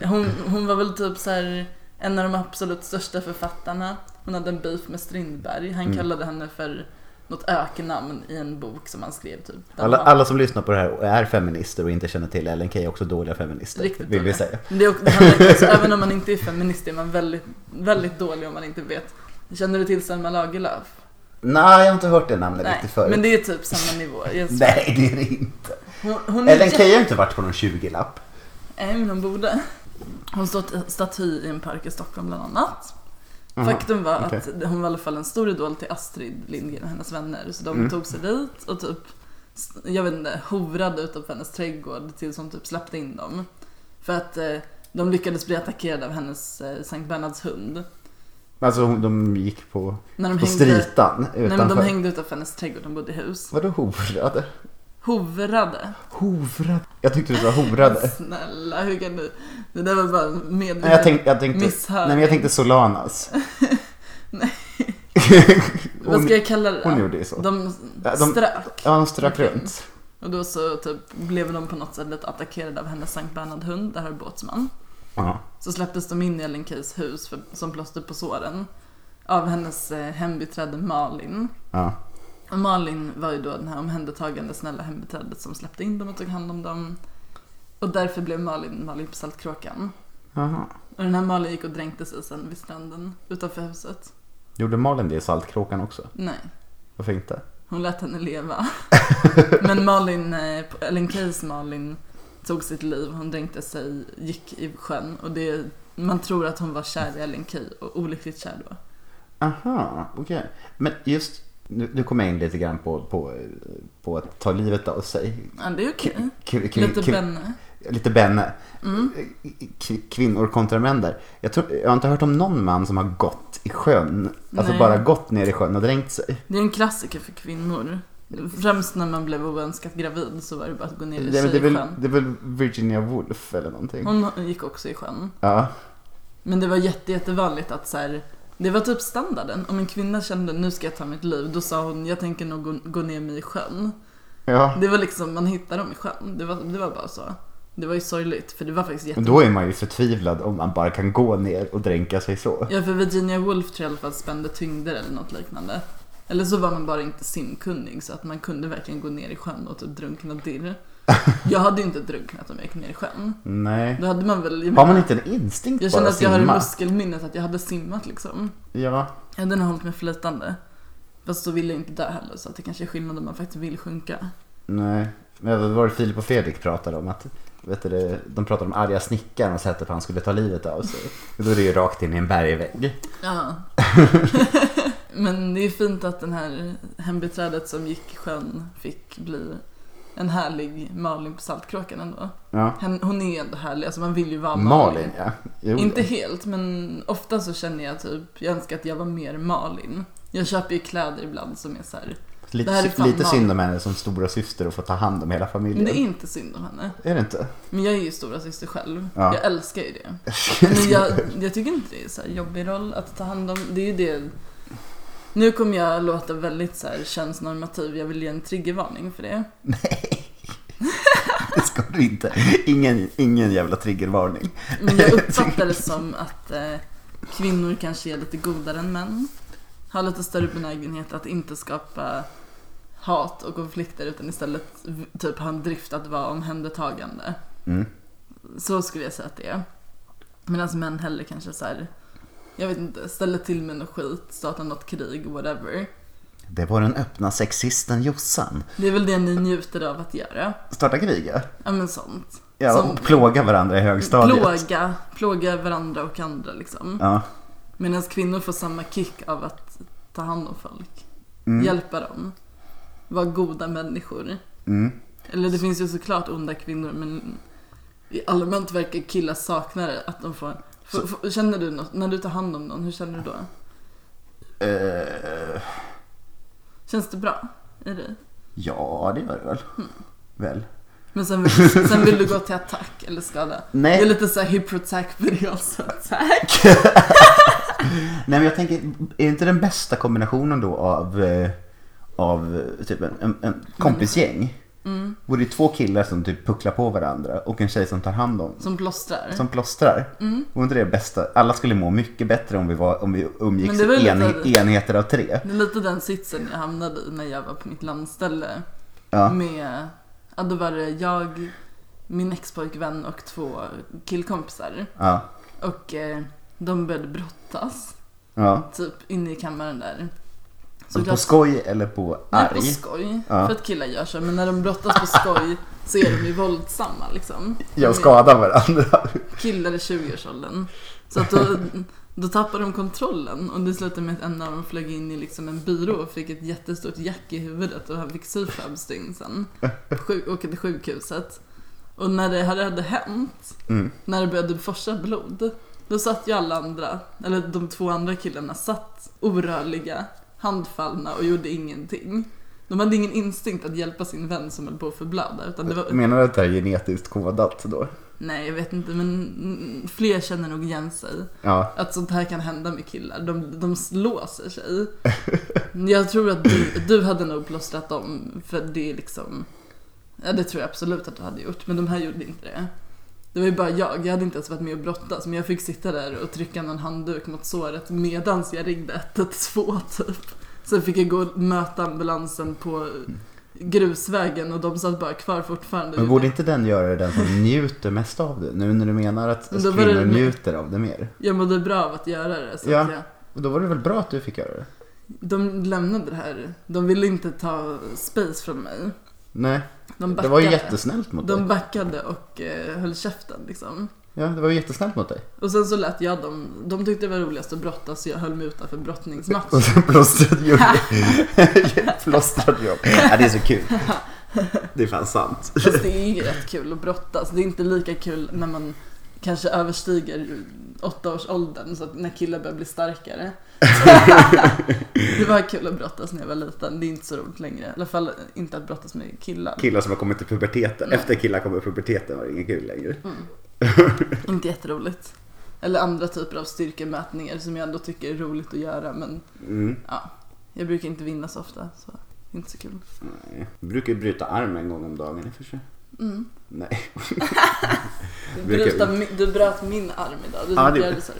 [SPEAKER 2] Hon, hon var väl typ så här en av de absolut största författarna. Hon hade en beef med Strindberg. Han
[SPEAKER 1] Mm.
[SPEAKER 2] kallade henne för något ökennamn i en bok som han skrev typ. Den
[SPEAKER 1] Alla,
[SPEAKER 2] var-
[SPEAKER 1] alla som lyssnar på det här och är feminister och inte känner till Ellen Key är också dåliga feminister.
[SPEAKER 2] Riktigt
[SPEAKER 1] vill vi
[SPEAKER 2] dåliga.
[SPEAKER 1] säga.
[SPEAKER 2] Men Det är också, det handlar, alltså, även om man inte är feminist är man väldigt, väldigt dålig om man inte vet. Känner du till Selma Lagerlöf?
[SPEAKER 1] Nej, jag har inte hört det namnet riktigt förut.
[SPEAKER 2] men det är typ samma nivå. Jag svär.
[SPEAKER 1] Nej, det är det inte.
[SPEAKER 2] Hon, hon är
[SPEAKER 1] Ellen
[SPEAKER 2] jä-
[SPEAKER 1] Key har inte varit på någon 20-lapp.
[SPEAKER 2] Nej, men hon borde. Hon stått staty i en park i Stockholm bland annat. Faktum var
[SPEAKER 1] okej.
[SPEAKER 2] att hon var i alla fall en stor idol till Astrid Lindgren och hennes vänner. Så de
[SPEAKER 1] Mm.
[SPEAKER 2] tog sig dit och typ, jag vet inte, horade utanför hennes trädgård tills hon typ släppte in dem. För att eh, de lyckades bli attackerade av hennes eh, Sankt Bernhards hund.
[SPEAKER 1] Alltså hon- de gick på,
[SPEAKER 2] När de
[SPEAKER 1] på
[SPEAKER 2] hängde-
[SPEAKER 1] stritan
[SPEAKER 2] Nej men
[SPEAKER 1] utanför.
[SPEAKER 2] de hängde utanför hennes trädgård, de bodde i hus.
[SPEAKER 1] Vadå horade?
[SPEAKER 2] Hovrade.
[SPEAKER 1] Hovrade? Jag tyckte du sa horade.
[SPEAKER 2] Snälla, hur kan du? Det där var bara medveten
[SPEAKER 1] Nej, jag tänkte, jag tänkte, nej,
[SPEAKER 2] misshörning.
[SPEAKER 1] men jag tänkte Solanas.
[SPEAKER 2] Nej. Vad
[SPEAKER 1] hon,
[SPEAKER 2] ska jag kalla det då?
[SPEAKER 1] hon gjorde ju så.
[SPEAKER 2] De
[SPEAKER 1] Ja, de-
[SPEAKER 2] strök.
[SPEAKER 1] ja, hon strök runt.
[SPEAKER 2] Och då så typ blev de på något sätt lite attackerade av hennes Sankt Bernhard-hund, det här är båtsman.
[SPEAKER 1] Ja.
[SPEAKER 2] Så släpptes de in i Ellen Keys hus för, som plåster på såren. Av hennes eh, hembiträde Malin.
[SPEAKER 1] Ja.
[SPEAKER 2] Och Malin var ju då den här omhändertagande snälla hembiträdet som släppte in dem och tog hand om dem. Och därför blev Malin Malin på Saltkråkan.
[SPEAKER 1] Jaha.
[SPEAKER 2] Och den här Malin gick och dränkte sig sen vid stranden utanför huset.
[SPEAKER 1] Gjorde Malin det i Saltkråkan också?
[SPEAKER 2] Nej,
[SPEAKER 1] Varför inte?
[SPEAKER 2] Hon lät henne leva. Men Malin, eh, Ellen Keys Malin tog sitt liv. Hon dränkte sig, gick i sjön. Och det, man tror att hon var kär i Ellen Key och olyckligt kär då.
[SPEAKER 1] Aha, okej. Men just, nu, nu kommer jag in lite grann på, på, på att ta livet av sig.
[SPEAKER 2] Ja, det är okej.
[SPEAKER 1] K- k-
[SPEAKER 2] Mm. Lite Mm.
[SPEAKER 1] k-
[SPEAKER 2] Benne.
[SPEAKER 1] Lite Benne. K- Kvinnor kontra män där. Jag, tror, jag har inte hört om någon man som har gått i sjön. Alltså
[SPEAKER 2] Nej.
[SPEAKER 1] bara gått ner i sjön och dränkt sig.
[SPEAKER 2] Det är en klassiker för kvinnor. Främst när man blev oönskat gravid så var det bara att gå ner i
[SPEAKER 1] Det, är väl- det, är väl,
[SPEAKER 2] tjejsjön.
[SPEAKER 1] det är väl Virginia Woolf eller någonting.
[SPEAKER 2] Hon gick också i sjön.
[SPEAKER 1] Ja.
[SPEAKER 2] Men det var jätte, jättevanligt att så här, det var typ standarden. Om en kvinna kände nu ska jag ta mitt liv, då sa hon jag tänker nog gå, gå ner mig i sjön.
[SPEAKER 1] ja.
[SPEAKER 2] Det var liksom, man hittade dem i sjön. Det var, det var bara så. Det var ju sorgligt, för det var faktiskt
[SPEAKER 1] Men
[SPEAKER 2] jätte...
[SPEAKER 1] då är man ju förtvivlad om man bara kan gå ner och dränka sig så.
[SPEAKER 2] Ja, för Virginia Woolf tror jag i alla fall spände tyngder eller något liknande. Eller så var man bara inte simkunnig så att man kunde verkligen gå ner i sjön och typ drunkna dirr. Jag hade ju inte drunknat om jag gick ner i sjön.
[SPEAKER 1] Nej.
[SPEAKER 2] Då hade man väl... Jag,
[SPEAKER 1] Har
[SPEAKER 2] menar,
[SPEAKER 1] man inte en instinkt
[SPEAKER 2] jag
[SPEAKER 1] bara
[SPEAKER 2] kände
[SPEAKER 1] att
[SPEAKER 2] att jag har i
[SPEAKER 1] simma?
[SPEAKER 2] muskelminnet att jag hade simmat liksom.
[SPEAKER 1] Ja.
[SPEAKER 2] Jag hade nog hållit mig flytande. Fast så vill jag inte dö heller så att det kanske är skillnad om man faktiskt vill sjunka.
[SPEAKER 1] Nej, men vad var det Filip och Fredrik pratade om? Att, vet du, det, de pratade om arga snickaren och sättet på han skulle ta livet av sig. Och då är det ju rakt in i en bergvägg.
[SPEAKER 2] Ja. Men det är fint att den här hembiträdet som gick i sjön fick bli en härlig Malin på Saltkråkan ändå.
[SPEAKER 1] Ja.
[SPEAKER 2] Hen- Hon är ju ändå härlig, alltså man vill ju vara
[SPEAKER 1] Malin ja. Jo,
[SPEAKER 2] Inte
[SPEAKER 1] då.
[SPEAKER 2] helt, men ofta så känner jag typ, jag önskar att jag var mer Malin. Jag köper ju kläder ibland som är så här. Det här är
[SPEAKER 1] lite,
[SPEAKER 2] fan
[SPEAKER 1] lite
[SPEAKER 2] Malin.
[SPEAKER 1] synd om henne som stora syster och få ta hand om hela
[SPEAKER 2] Men
[SPEAKER 1] familjen.
[SPEAKER 2] det är inte synd om henne.
[SPEAKER 1] Är det inte?
[SPEAKER 2] Men jag är ju stora syster själv.
[SPEAKER 1] Ja.
[SPEAKER 2] Jag älskar ju det. Men jag, jag tycker inte det är så här jobbig roll att ta hand om. Det är ju det. Nu kommer jag låta väldigt så här könsnormativ. Jag vill ge en triggervarning för det.
[SPEAKER 1] Det ska du inte. Ingen, ingen jävla triggervarning.
[SPEAKER 2] Men jag uppfattar det som att eh, kvinnor kanske är lite godare än män. Har lite större benägenhet att inte skapa hat och konflikter utan istället v- typ ha en drift att vara omhändertagande.
[SPEAKER 1] Mm.
[SPEAKER 2] Så skulle jag säga att det är. Medan män hellre kanske så här, jag vet inte, ställer till med något skit, startar något krig, whatever.
[SPEAKER 1] Det var den öppna sexisten Jossan.
[SPEAKER 2] Det är väl det ni njuter av att göra.
[SPEAKER 1] Starta krig ja.
[SPEAKER 2] Ja men sånt.
[SPEAKER 1] ja
[SPEAKER 2] Som-
[SPEAKER 1] och plåga varandra i högstadiet.
[SPEAKER 2] Plåga, plåga varandra och andra liksom.
[SPEAKER 1] Ja.
[SPEAKER 2] Medan kvinnor får samma kick av att ta hand om folk. Hjälpa dem. Vara goda människor.
[SPEAKER 1] Mm.
[SPEAKER 2] Eller det finns ju såklart onda kvinnor men i allmänt verkar killar sakna det. Att de får, får, får, känner du något, när du tar hand om någon, hur känner du då?
[SPEAKER 1] Eh,
[SPEAKER 2] Känns det bra i dig?
[SPEAKER 1] ja, det gör det väl. Väl.
[SPEAKER 2] Men sen vill, sen vill du gå till attack eller skada.
[SPEAKER 1] Nej.
[SPEAKER 2] Det är lite såhär hyprotack på det också. Så här.
[SPEAKER 1] Nej men jag tänker, är inte den bästa kombinationen då av, eh, av eh, typ en, en, en kompisgäng? Mm. Vore det två killar som typ pucklar på varandra och en tjej som tar hand om,
[SPEAKER 2] Som plåstrar.
[SPEAKER 1] som plåstrar. Mm. Vore inte det bästa? Alla skulle må mycket bättre om vi, var, om vi
[SPEAKER 2] Men
[SPEAKER 1] umgicks
[SPEAKER 2] det var
[SPEAKER 1] i
[SPEAKER 2] lite
[SPEAKER 1] en,
[SPEAKER 2] av det.
[SPEAKER 1] enheter av tre.
[SPEAKER 2] Det är lite den sitsen jag hamnade i när jag var på mitt landställe.
[SPEAKER 1] Ja.
[SPEAKER 2] Med, ja då var det jag, min expojkvän och två killkompisar.
[SPEAKER 1] Ja,
[SPEAKER 2] Och eh, de började brottas,
[SPEAKER 1] ja.
[SPEAKER 2] typ inne i kammaren där.
[SPEAKER 1] Så på
[SPEAKER 2] klart-
[SPEAKER 1] skoj eller på
[SPEAKER 2] Nej,
[SPEAKER 1] arg?
[SPEAKER 2] på skoj.
[SPEAKER 1] Ja.
[SPEAKER 2] För att killar gör så, men när de brottas på skoj så är de ju våldsamma liksom.
[SPEAKER 1] Jag
[SPEAKER 2] De är-
[SPEAKER 1] skadar varandra.
[SPEAKER 2] killar i 20-årsåldern. Så att då, då tappade de kontrollen och det slutade med att en av dem flög in i liksom en byrå och fick ett jättestort jack i huvudet och han fick syfab stygn sen. Sjuk, åka till sjukhuset. Och när det här hade hänt, när det började forsa blod, då satt ju alla andra, eller de två andra killarna satt orörliga, handfallna och gjorde ingenting. De hade ingen instinkt att hjälpa sin vän som höll på att förblöda utan det var
[SPEAKER 1] Menar du att det här är genetiskt kodat då?
[SPEAKER 2] Nej, jag vet inte, men mm, fler känner nog igen sig.
[SPEAKER 1] Ja.
[SPEAKER 2] Att sånt här kan hända med killar. De, de låser sig. Jag tror att du, du hade nog plåstrat om, för det är liksom... Ja, det tror jag absolut att du hade gjort, men de här gjorde inte det. Det var ju bara jag, jag hade inte ens varit med och brottas, men jag fick sitta där och trycka någon handduk mot såret medans jag ringde 112 typ. Sen fick jag gå och möta ambulansen på grusvägen och de satt bara kvar fortfarande.
[SPEAKER 1] Men borde inte den göra det den som njuter mest av det? Nu när du menar att
[SPEAKER 2] Men då var det-
[SPEAKER 1] kvinnor njuter av det mer.
[SPEAKER 2] Jag mådde bra av att göra det. Så
[SPEAKER 1] Ja.
[SPEAKER 2] att jag,
[SPEAKER 1] Och då var det väl bra att du fick göra det?
[SPEAKER 2] de lämnade det här. De ville inte ta space från mig.
[SPEAKER 1] Nej,
[SPEAKER 2] De
[SPEAKER 1] det var ju
[SPEAKER 2] backade.
[SPEAKER 1] jättesnällt mot
[SPEAKER 2] De
[SPEAKER 1] dig.
[SPEAKER 2] backade och eh, höll käften liksom.
[SPEAKER 1] Ja, det var ju jättesnällt mot dig.
[SPEAKER 2] Och sen så lät jag dem, de tyckte det var roligast att brottas så jag höll mig utanför brottningsmatch.
[SPEAKER 1] Och sen plåstrad jobb. plåstrad jobb. Ja, det är så kul. Det är fan sant.
[SPEAKER 2] Fast det är ju rätt kul att brottas. Det är inte lika kul när man kanske överstiger åttaårsåldern så att när killar börjar bli starkare. det var kul att brottas när jag var liten. Det är inte så roligt längre. I alla fall inte att brottas med killar.
[SPEAKER 1] Killar som har kommit till puberteten. Efter killar kommer puberteten var det inget kul längre. typ.
[SPEAKER 2] Inte jätteroligt. Eller andra typer av styrkemätningar som jag ändå tycker är roligt att göra men
[SPEAKER 1] Mm.
[SPEAKER 2] ja, jag brukar inte vinna så ofta så det är inte så kul. Mm.
[SPEAKER 1] Nej. Jag brukar ju bryta arm en gång om dagen i och för sig. Nej.
[SPEAKER 2] Du,
[SPEAKER 1] Brukar
[SPEAKER 2] bryta,
[SPEAKER 1] vi-
[SPEAKER 2] mi- du bröt min arm idag, du
[SPEAKER 1] Ja,
[SPEAKER 2] ja,
[SPEAKER 1] det-
[SPEAKER 2] det... så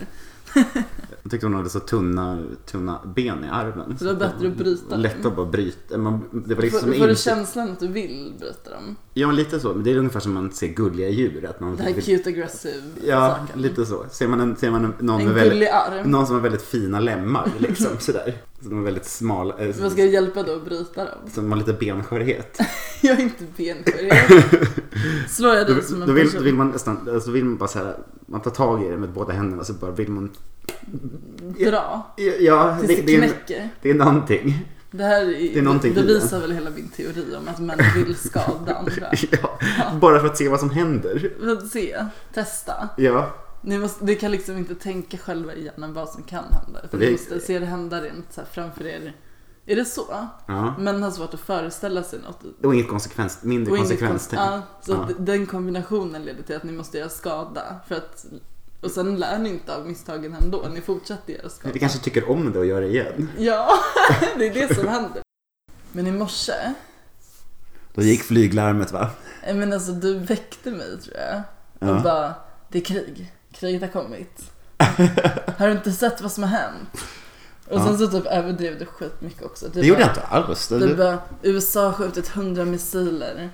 [SPEAKER 1] Jag tyckte hon hade så tunna, tunna ben i armen.
[SPEAKER 2] Så det var bättre att bryta den.
[SPEAKER 1] Lätt att bara bryta. Man, det var liksom
[SPEAKER 2] Får, får du
[SPEAKER 1] inte-
[SPEAKER 2] känslan att du vill bryta dem?
[SPEAKER 1] Ja, lite så. Men det är ungefär som man ser gulliga djur. Att man
[SPEAKER 2] Det här
[SPEAKER 1] vill-
[SPEAKER 2] cute aggressive
[SPEAKER 1] Ja,
[SPEAKER 2] saken.
[SPEAKER 1] lite så. Ser man, en, ser man en, någon,
[SPEAKER 2] En
[SPEAKER 1] med
[SPEAKER 2] gullig
[SPEAKER 1] väldigt,
[SPEAKER 2] arm.
[SPEAKER 1] någon som har väldigt fina lemmar liksom sådär. Så de är väldigt smala. Eh,
[SPEAKER 2] Vad ska jag hjälpa då att bryta dem?
[SPEAKER 1] Som har lite benskörhet.
[SPEAKER 2] Jag är inte benskör. Slår jag
[SPEAKER 1] Då,
[SPEAKER 2] dig som en
[SPEAKER 1] då, vill,
[SPEAKER 2] person?
[SPEAKER 1] då vill man nästan, alltså vill man bara såhär, man tar tag i det med båda händerna så bara vill man,
[SPEAKER 2] Dra?
[SPEAKER 1] ja,
[SPEAKER 2] Tills
[SPEAKER 1] det,
[SPEAKER 2] det,
[SPEAKER 1] det, är,
[SPEAKER 2] knäcker?
[SPEAKER 1] det är någonting.
[SPEAKER 2] Det här är,
[SPEAKER 1] är någonting
[SPEAKER 2] det
[SPEAKER 1] i det.
[SPEAKER 2] visar väl hela min teori om att män vill skada andra.
[SPEAKER 1] Ja, bara för att se vad som händer.
[SPEAKER 2] Vi får se, testa.
[SPEAKER 1] Ja,
[SPEAKER 2] Ni, måste, ni kan liksom inte tänka själva i hjärnan vad som kan hända. Utan
[SPEAKER 1] Det-
[SPEAKER 2] ni måste se det hända rent så här framför er. Är det så?
[SPEAKER 1] Ja.
[SPEAKER 2] Män har svårt att föreställa sig något.
[SPEAKER 1] och inget konsekvens, mindre
[SPEAKER 2] Och inget kon-
[SPEAKER 1] konsekvenstänk.
[SPEAKER 2] ja, så
[SPEAKER 1] Ja.
[SPEAKER 2] att den kombinationen leder till att ni måste göra skada. För att, och sen lär ni inte av misstagen ändå. Ni fortsätter göra skada.
[SPEAKER 1] Vi kanske tycker om det och gör det igen.
[SPEAKER 2] Ja, det är det som händer. Men i morse,
[SPEAKER 1] Då gick flyglarmet va?
[SPEAKER 2] eh, men alltså du väckte mig tror jag. Och
[SPEAKER 1] Ja.
[SPEAKER 2] bara, det är krig. Kriget har kommit. har du inte sett vad som har hänt? Och sen så typ överdrev du skitmycket också. Du
[SPEAKER 1] Det gjorde
[SPEAKER 2] bara,
[SPEAKER 1] jag inte alls. Det-
[SPEAKER 2] Du bara, USA har skjutit 100 missiler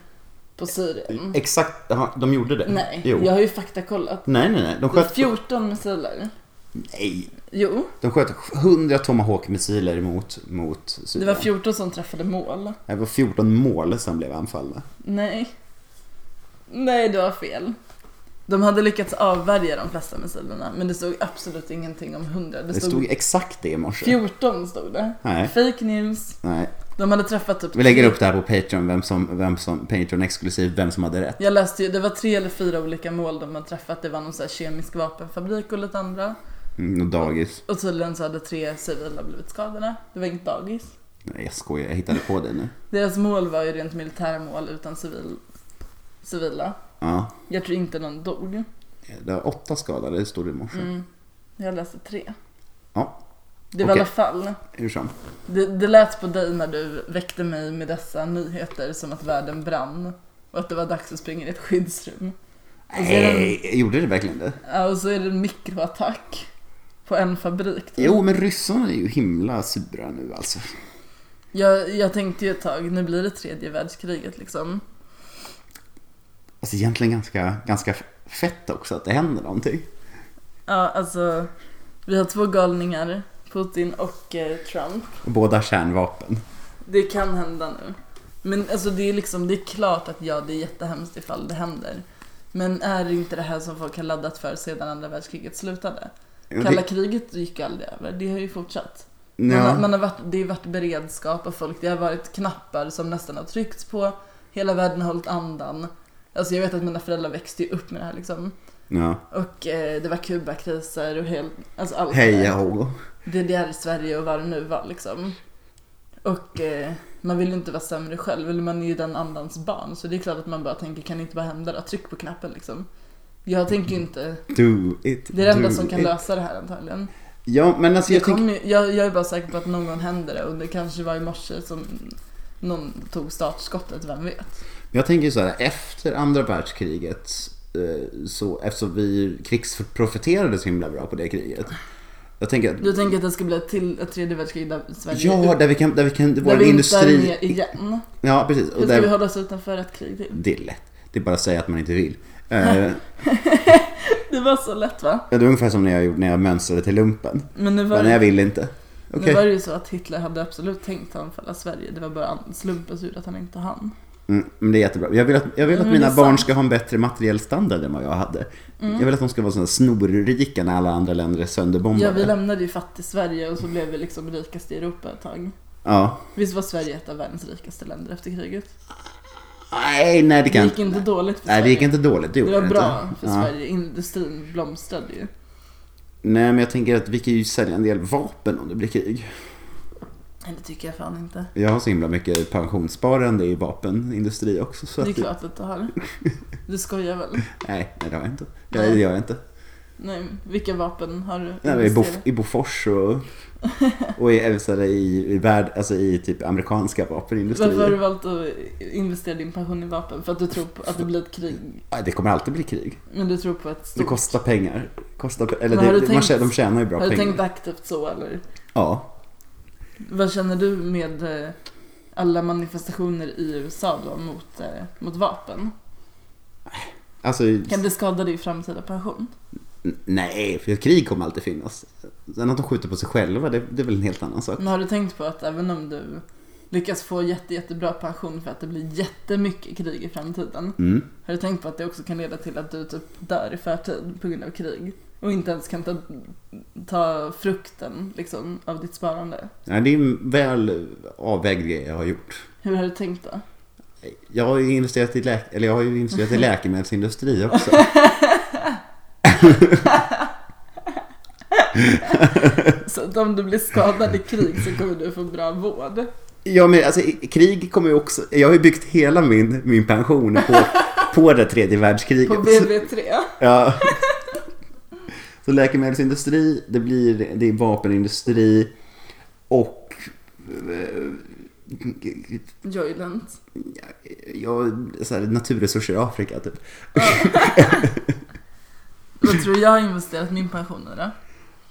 [SPEAKER 2] på Syrien.
[SPEAKER 1] Exakt, Jaha, de gjorde det?
[SPEAKER 2] Nej,
[SPEAKER 1] Eh, Jo.
[SPEAKER 2] jag har ju faktakollat.
[SPEAKER 1] Nej, nej, nej. De
[SPEAKER 2] Det är
[SPEAKER 1] sköt...
[SPEAKER 2] 14 missiler.
[SPEAKER 1] Nej.
[SPEAKER 2] Jo,
[SPEAKER 1] De sköt 100 Tomahawk-missiler mot, mot
[SPEAKER 2] det
[SPEAKER 1] Syrien.
[SPEAKER 2] var 14 som träffade mål.
[SPEAKER 1] Det var 14 mål som blev anfallna.
[SPEAKER 2] Nej. Nej, du har fel. De hade lyckats avvärja de flesta missilerna, men det stod absolut ingenting om 100. Det
[SPEAKER 1] Det
[SPEAKER 2] stod,
[SPEAKER 1] stod exakt det i morse.
[SPEAKER 2] 14 stod det.
[SPEAKER 1] Nej.
[SPEAKER 2] Fake news.
[SPEAKER 1] Nej.
[SPEAKER 2] De hade träffat typ...
[SPEAKER 1] Vi lägger upp det här på Patreon, vem som, vem som, Patreon exklusiv, vem som hade rätt.
[SPEAKER 2] Jag läste ju, det var tre eller fyra olika mål de hade träffat. Det var någon så här kemisk vapenfabrik och lite andra.
[SPEAKER 1] Mm, och dagis.
[SPEAKER 2] Och tydligen så hade tre civila blivit skadade. Det var inget dagis.
[SPEAKER 1] Nej, jag skojar, jag hittade på det nu.
[SPEAKER 2] Deras mål var ju rent militära mål utan civil, civila.
[SPEAKER 1] Ja.
[SPEAKER 2] Jag tror inte någon dog.
[SPEAKER 1] Det var åtta skadade, stod det i morse.
[SPEAKER 2] Mm. Jag läste tre.
[SPEAKER 1] Ja,
[SPEAKER 2] Det var
[SPEAKER 1] Okej.
[SPEAKER 2] i alla fall.
[SPEAKER 1] hur som.
[SPEAKER 2] Det, det lät på dig när du väckte mig med dessa nyheter som att världen brann och att det var dags att springa in i ett skyddsrum. Och så är det,
[SPEAKER 1] Nej, Eh, gjorde det verkligen det?
[SPEAKER 2] ja, och så är det en mikroattack på en fabrik. typ.
[SPEAKER 1] Jo, men ryssarna är ju himla sura nu alltså.
[SPEAKER 2] Jag, jag tänkte ju ett tag, nu blir det tredje världskriget liksom.
[SPEAKER 1] Alltså egentligen ganska, ganska fett också att det händer någonting.
[SPEAKER 2] Ja, alltså, vi har två galningar, Putin och eh, Trump.
[SPEAKER 1] Båda kärnvapen.
[SPEAKER 2] Det kan hända nu. Men alltså det är liksom, det är klart att ja, det är jättehemskt ifall det händer. Men är det inte det här som folk har laddat för sedan andra världskriget slutade?
[SPEAKER 1] Ja, det-
[SPEAKER 2] Kalla kriget gick ju aldrig över, det har ju fortsatt. Man,
[SPEAKER 1] Ja.
[SPEAKER 2] har, man har varit, det har varit beredskap och folk, det har varit knappar som nästan har tryckts på. Hela världen har hållit andan. Alltså jag vet att mina föräldrar växte ju upp med det här liksom.
[SPEAKER 1] Ja.
[SPEAKER 2] Och eh, det var Kubakriser och helt, alltså allt det där.
[SPEAKER 1] Heja ho.
[SPEAKER 2] DDR i Sverige och vad det nu var liksom. Och eh, man vill ju inte vara sämre själv, eller man är ju den andans barn. Så det är klart att man bara tänker, kan det inte bara hända då? Tryck på knappen liksom. Jag tänker ju inte,
[SPEAKER 1] Do it.
[SPEAKER 2] det är det enda
[SPEAKER 1] do
[SPEAKER 2] som kan
[SPEAKER 1] it.
[SPEAKER 2] lösa det här antagligen.
[SPEAKER 1] Ja, men alltså
[SPEAKER 2] Det
[SPEAKER 1] jag tänker...
[SPEAKER 2] kommer ju, jag, jag är bara säker på att någon gång händer det och det kanske var i morse som någon tog startskottet, vem vet?
[SPEAKER 1] Jag tänker ju så här, efter andra världskriget, eh, så, eftersom vi krigsprofiterade så himla bra på det kriget. Jag tänker
[SPEAKER 2] Du
[SPEAKER 1] att,
[SPEAKER 2] tänker att det ska bli ett till ett tredje världskrig där Sverige
[SPEAKER 1] Mm. ja, där vi kan, där vi kan,
[SPEAKER 2] där
[SPEAKER 1] vår
[SPEAKER 2] vi inte är
[SPEAKER 1] industri...
[SPEAKER 2] med igen?
[SPEAKER 1] Ja, precis. Och
[SPEAKER 2] Hur ska vi
[SPEAKER 1] där,
[SPEAKER 2] hålla oss utanför ett krig till?
[SPEAKER 1] det är lätt. Det är bara att säga att man inte vill. Eh,
[SPEAKER 2] Det var så lätt va?
[SPEAKER 1] det var ungefär som när jag, gjorde, när jag mönstrade till lumpen.
[SPEAKER 2] Men nu var
[SPEAKER 1] Men
[SPEAKER 2] det
[SPEAKER 1] jag vill inte. Okej.
[SPEAKER 2] Nu var det ju så att Hitler hade absolut tänkt anfalla Sverige. Det var bara an- slumpen som gjorde att han inte hann.
[SPEAKER 1] Mm, men det är jättebra. Jag vill att, jag vill att
[SPEAKER 2] men det
[SPEAKER 1] mina
[SPEAKER 2] är
[SPEAKER 1] barn
[SPEAKER 2] sant. Mm.
[SPEAKER 1] ska ha en bättre materiell standard än vad jag hade. Jag vill att de ska vara sådana snorrika när alla andra länder är
[SPEAKER 2] Ja,
[SPEAKER 1] sönderbombade.
[SPEAKER 2] vi lämnade ju fattig Sverige och så blev vi liksom rikast i Europa ett tag.
[SPEAKER 1] ja.
[SPEAKER 2] Visst var Sverige ett av världens rikaste länder efter kriget?
[SPEAKER 1] Nej, nej det
[SPEAKER 2] Det
[SPEAKER 1] kan
[SPEAKER 2] gick inte dåligt för
[SPEAKER 1] Nej, det
[SPEAKER 2] Sverige.
[SPEAKER 1] gick inte dåligt. Det,
[SPEAKER 2] Det
[SPEAKER 1] gjorde
[SPEAKER 2] var bra
[SPEAKER 1] inte.
[SPEAKER 2] för
[SPEAKER 1] Ja.
[SPEAKER 2] Sverige. Industrin blomstrade ju.
[SPEAKER 1] Nej, men jag tänker att vi kan ju sälja en del vapen om det blir krig.
[SPEAKER 2] Nej, det tycker jag fan inte.
[SPEAKER 1] Jag har så himla mycket pensionssparande i vapenindustri också. Så
[SPEAKER 2] Det är
[SPEAKER 1] att
[SPEAKER 2] klart att du har. Du skojar väl?
[SPEAKER 1] Nej, nej, det har jag inte. Nej, det gör jag inte.
[SPEAKER 2] Nej, vilka vapen har du?
[SPEAKER 1] Nej, men i,
[SPEAKER 2] investerat?
[SPEAKER 1] Bof- I Bofors och, och i, jag vill säga, i, i, värld, alltså i typ amerikanska
[SPEAKER 2] Varför har du
[SPEAKER 1] vapenindustrier.
[SPEAKER 2] valt att investera din pension i vapen? För att du tror på att det blir ett krig?
[SPEAKER 1] Nej, Det kommer alltid bli krig.
[SPEAKER 2] Men du tror på ett stort...
[SPEAKER 1] Det kostar pengar. Kostar, pe- eller
[SPEAKER 2] Men har
[SPEAKER 1] det,
[SPEAKER 2] du
[SPEAKER 1] man
[SPEAKER 2] tänkt-
[SPEAKER 1] tjänar, de tjänar ju bra
[SPEAKER 2] Har du
[SPEAKER 1] pengar.
[SPEAKER 2] tänkt aktivt så eller?
[SPEAKER 1] Ja.
[SPEAKER 2] Vad känner du med eh, alla manifestationer i USA då mot, eh, mot vapen?
[SPEAKER 1] Alltså,
[SPEAKER 2] Kan det skada din framtida pension?
[SPEAKER 1] n- nej, för krig kommer alltid finnas. Sen att de skjuter på sig själva, det, det är väl en helt annan sak.
[SPEAKER 2] Men har du tänkt på att även om du lyckas få jätte, jättebra pension för att det blir jättemycket krig i framtiden.
[SPEAKER 1] Mm.
[SPEAKER 2] Har du tänkt på att det också kan leda till att du typ dör i förtid på grund av krig? Och inte ens kan ta, ta frukten liksom, av ditt sparande.
[SPEAKER 1] Nej, det är en väl avvägd grej jag har gjort.
[SPEAKER 2] Hur har du tänkt då?
[SPEAKER 1] Jag har ju investerat i, läk- eller jag har ju investerat i läkemedelsindustri också.
[SPEAKER 2] Så att om du blir skadad i krig så kommer du få bra vård.
[SPEAKER 1] Ja, men alltså i- krig kommer ju också... Jag har ju byggt hela min, min pension på, på det tredje
[SPEAKER 2] På
[SPEAKER 1] världskriget.
[SPEAKER 2] BB3.
[SPEAKER 1] Ja. Så läkemedelsindustri, det blir det är vapenindustri och eh,
[SPEAKER 2] Joylent.
[SPEAKER 1] ja, så här, naturresurser i Afrika typ.
[SPEAKER 2] Vad tror du jag har investerat min pension i då?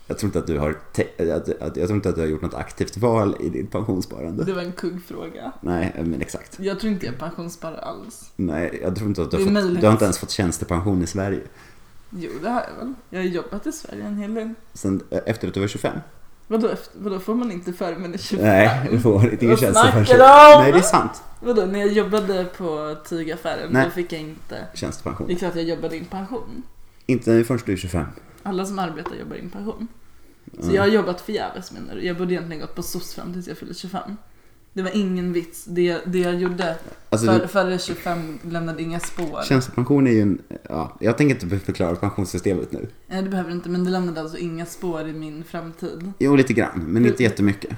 [SPEAKER 1] Jag tror inte att du har, te- att, att, jag tror inte att du har gjort något aktivt val i ditt pensionssparande.
[SPEAKER 2] Det var en kuggfråga.
[SPEAKER 1] Nej, eh, men exakt.
[SPEAKER 2] Jag tror inte jag pensionssparar alls.
[SPEAKER 1] Nej, jag tror inte att du
[SPEAKER 2] Det
[SPEAKER 1] har,
[SPEAKER 2] är
[SPEAKER 1] fått,
[SPEAKER 2] möjligt.
[SPEAKER 1] du har inte ens fått tjänstepension i Sverige.
[SPEAKER 2] Jo, det har jag väl. Jag har jobbat i Sverige en hel del.
[SPEAKER 1] Sen, eh, efter att du var 25?
[SPEAKER 2] Vadå, efter, vadå får man inte före man är 25?
[SPEAKER 1] Nej, du får ingen
[SPEAKER 2] Vad
[SPEAKER 1] tjänstepension.
[SPEAKER 2] snackar du om?
[SPEAKER 1] Nej, det är sant.
[SPEAKER 2] Vadå, när jag jobbade på tygaffären
[SPEAKER 1] Nej.
[SPEAKER 2] då fick jag inte... Det
[SPEAKER 1] Tjänstepension.
[SPEAKER 2] är klart jag jobbade in pension.
[SPEAKER 1] Inte förrän du är 25.
[SPEAKER 2] Alla som arbetar jobbar in pension.
[SPEAKER 1] Mm.
[SPEAKER 2] Så jag har jobbat förgäves menar du? Jag borde egentligen gått på SOS fram tills jag fyllde 25. Det var ingen vits. Det, det jag gjorde
[SPEAKER 1] Alltså,
[SPEAKER 2] för,
[SPEAKER 1] du-
[SPEAKER 2] före 25 lämnade inga spår.
[SPEAKER 1] Tjänstepension är ju en... Ja, jag tänker inte förklara pensionssystemet nu.
[SPEAKER 2] Nej, det behöver du inte. Men det lämnade alltså inga spår i min framtid.
[SPEAKER 1] Jo, lite grann, men inte jättemycket.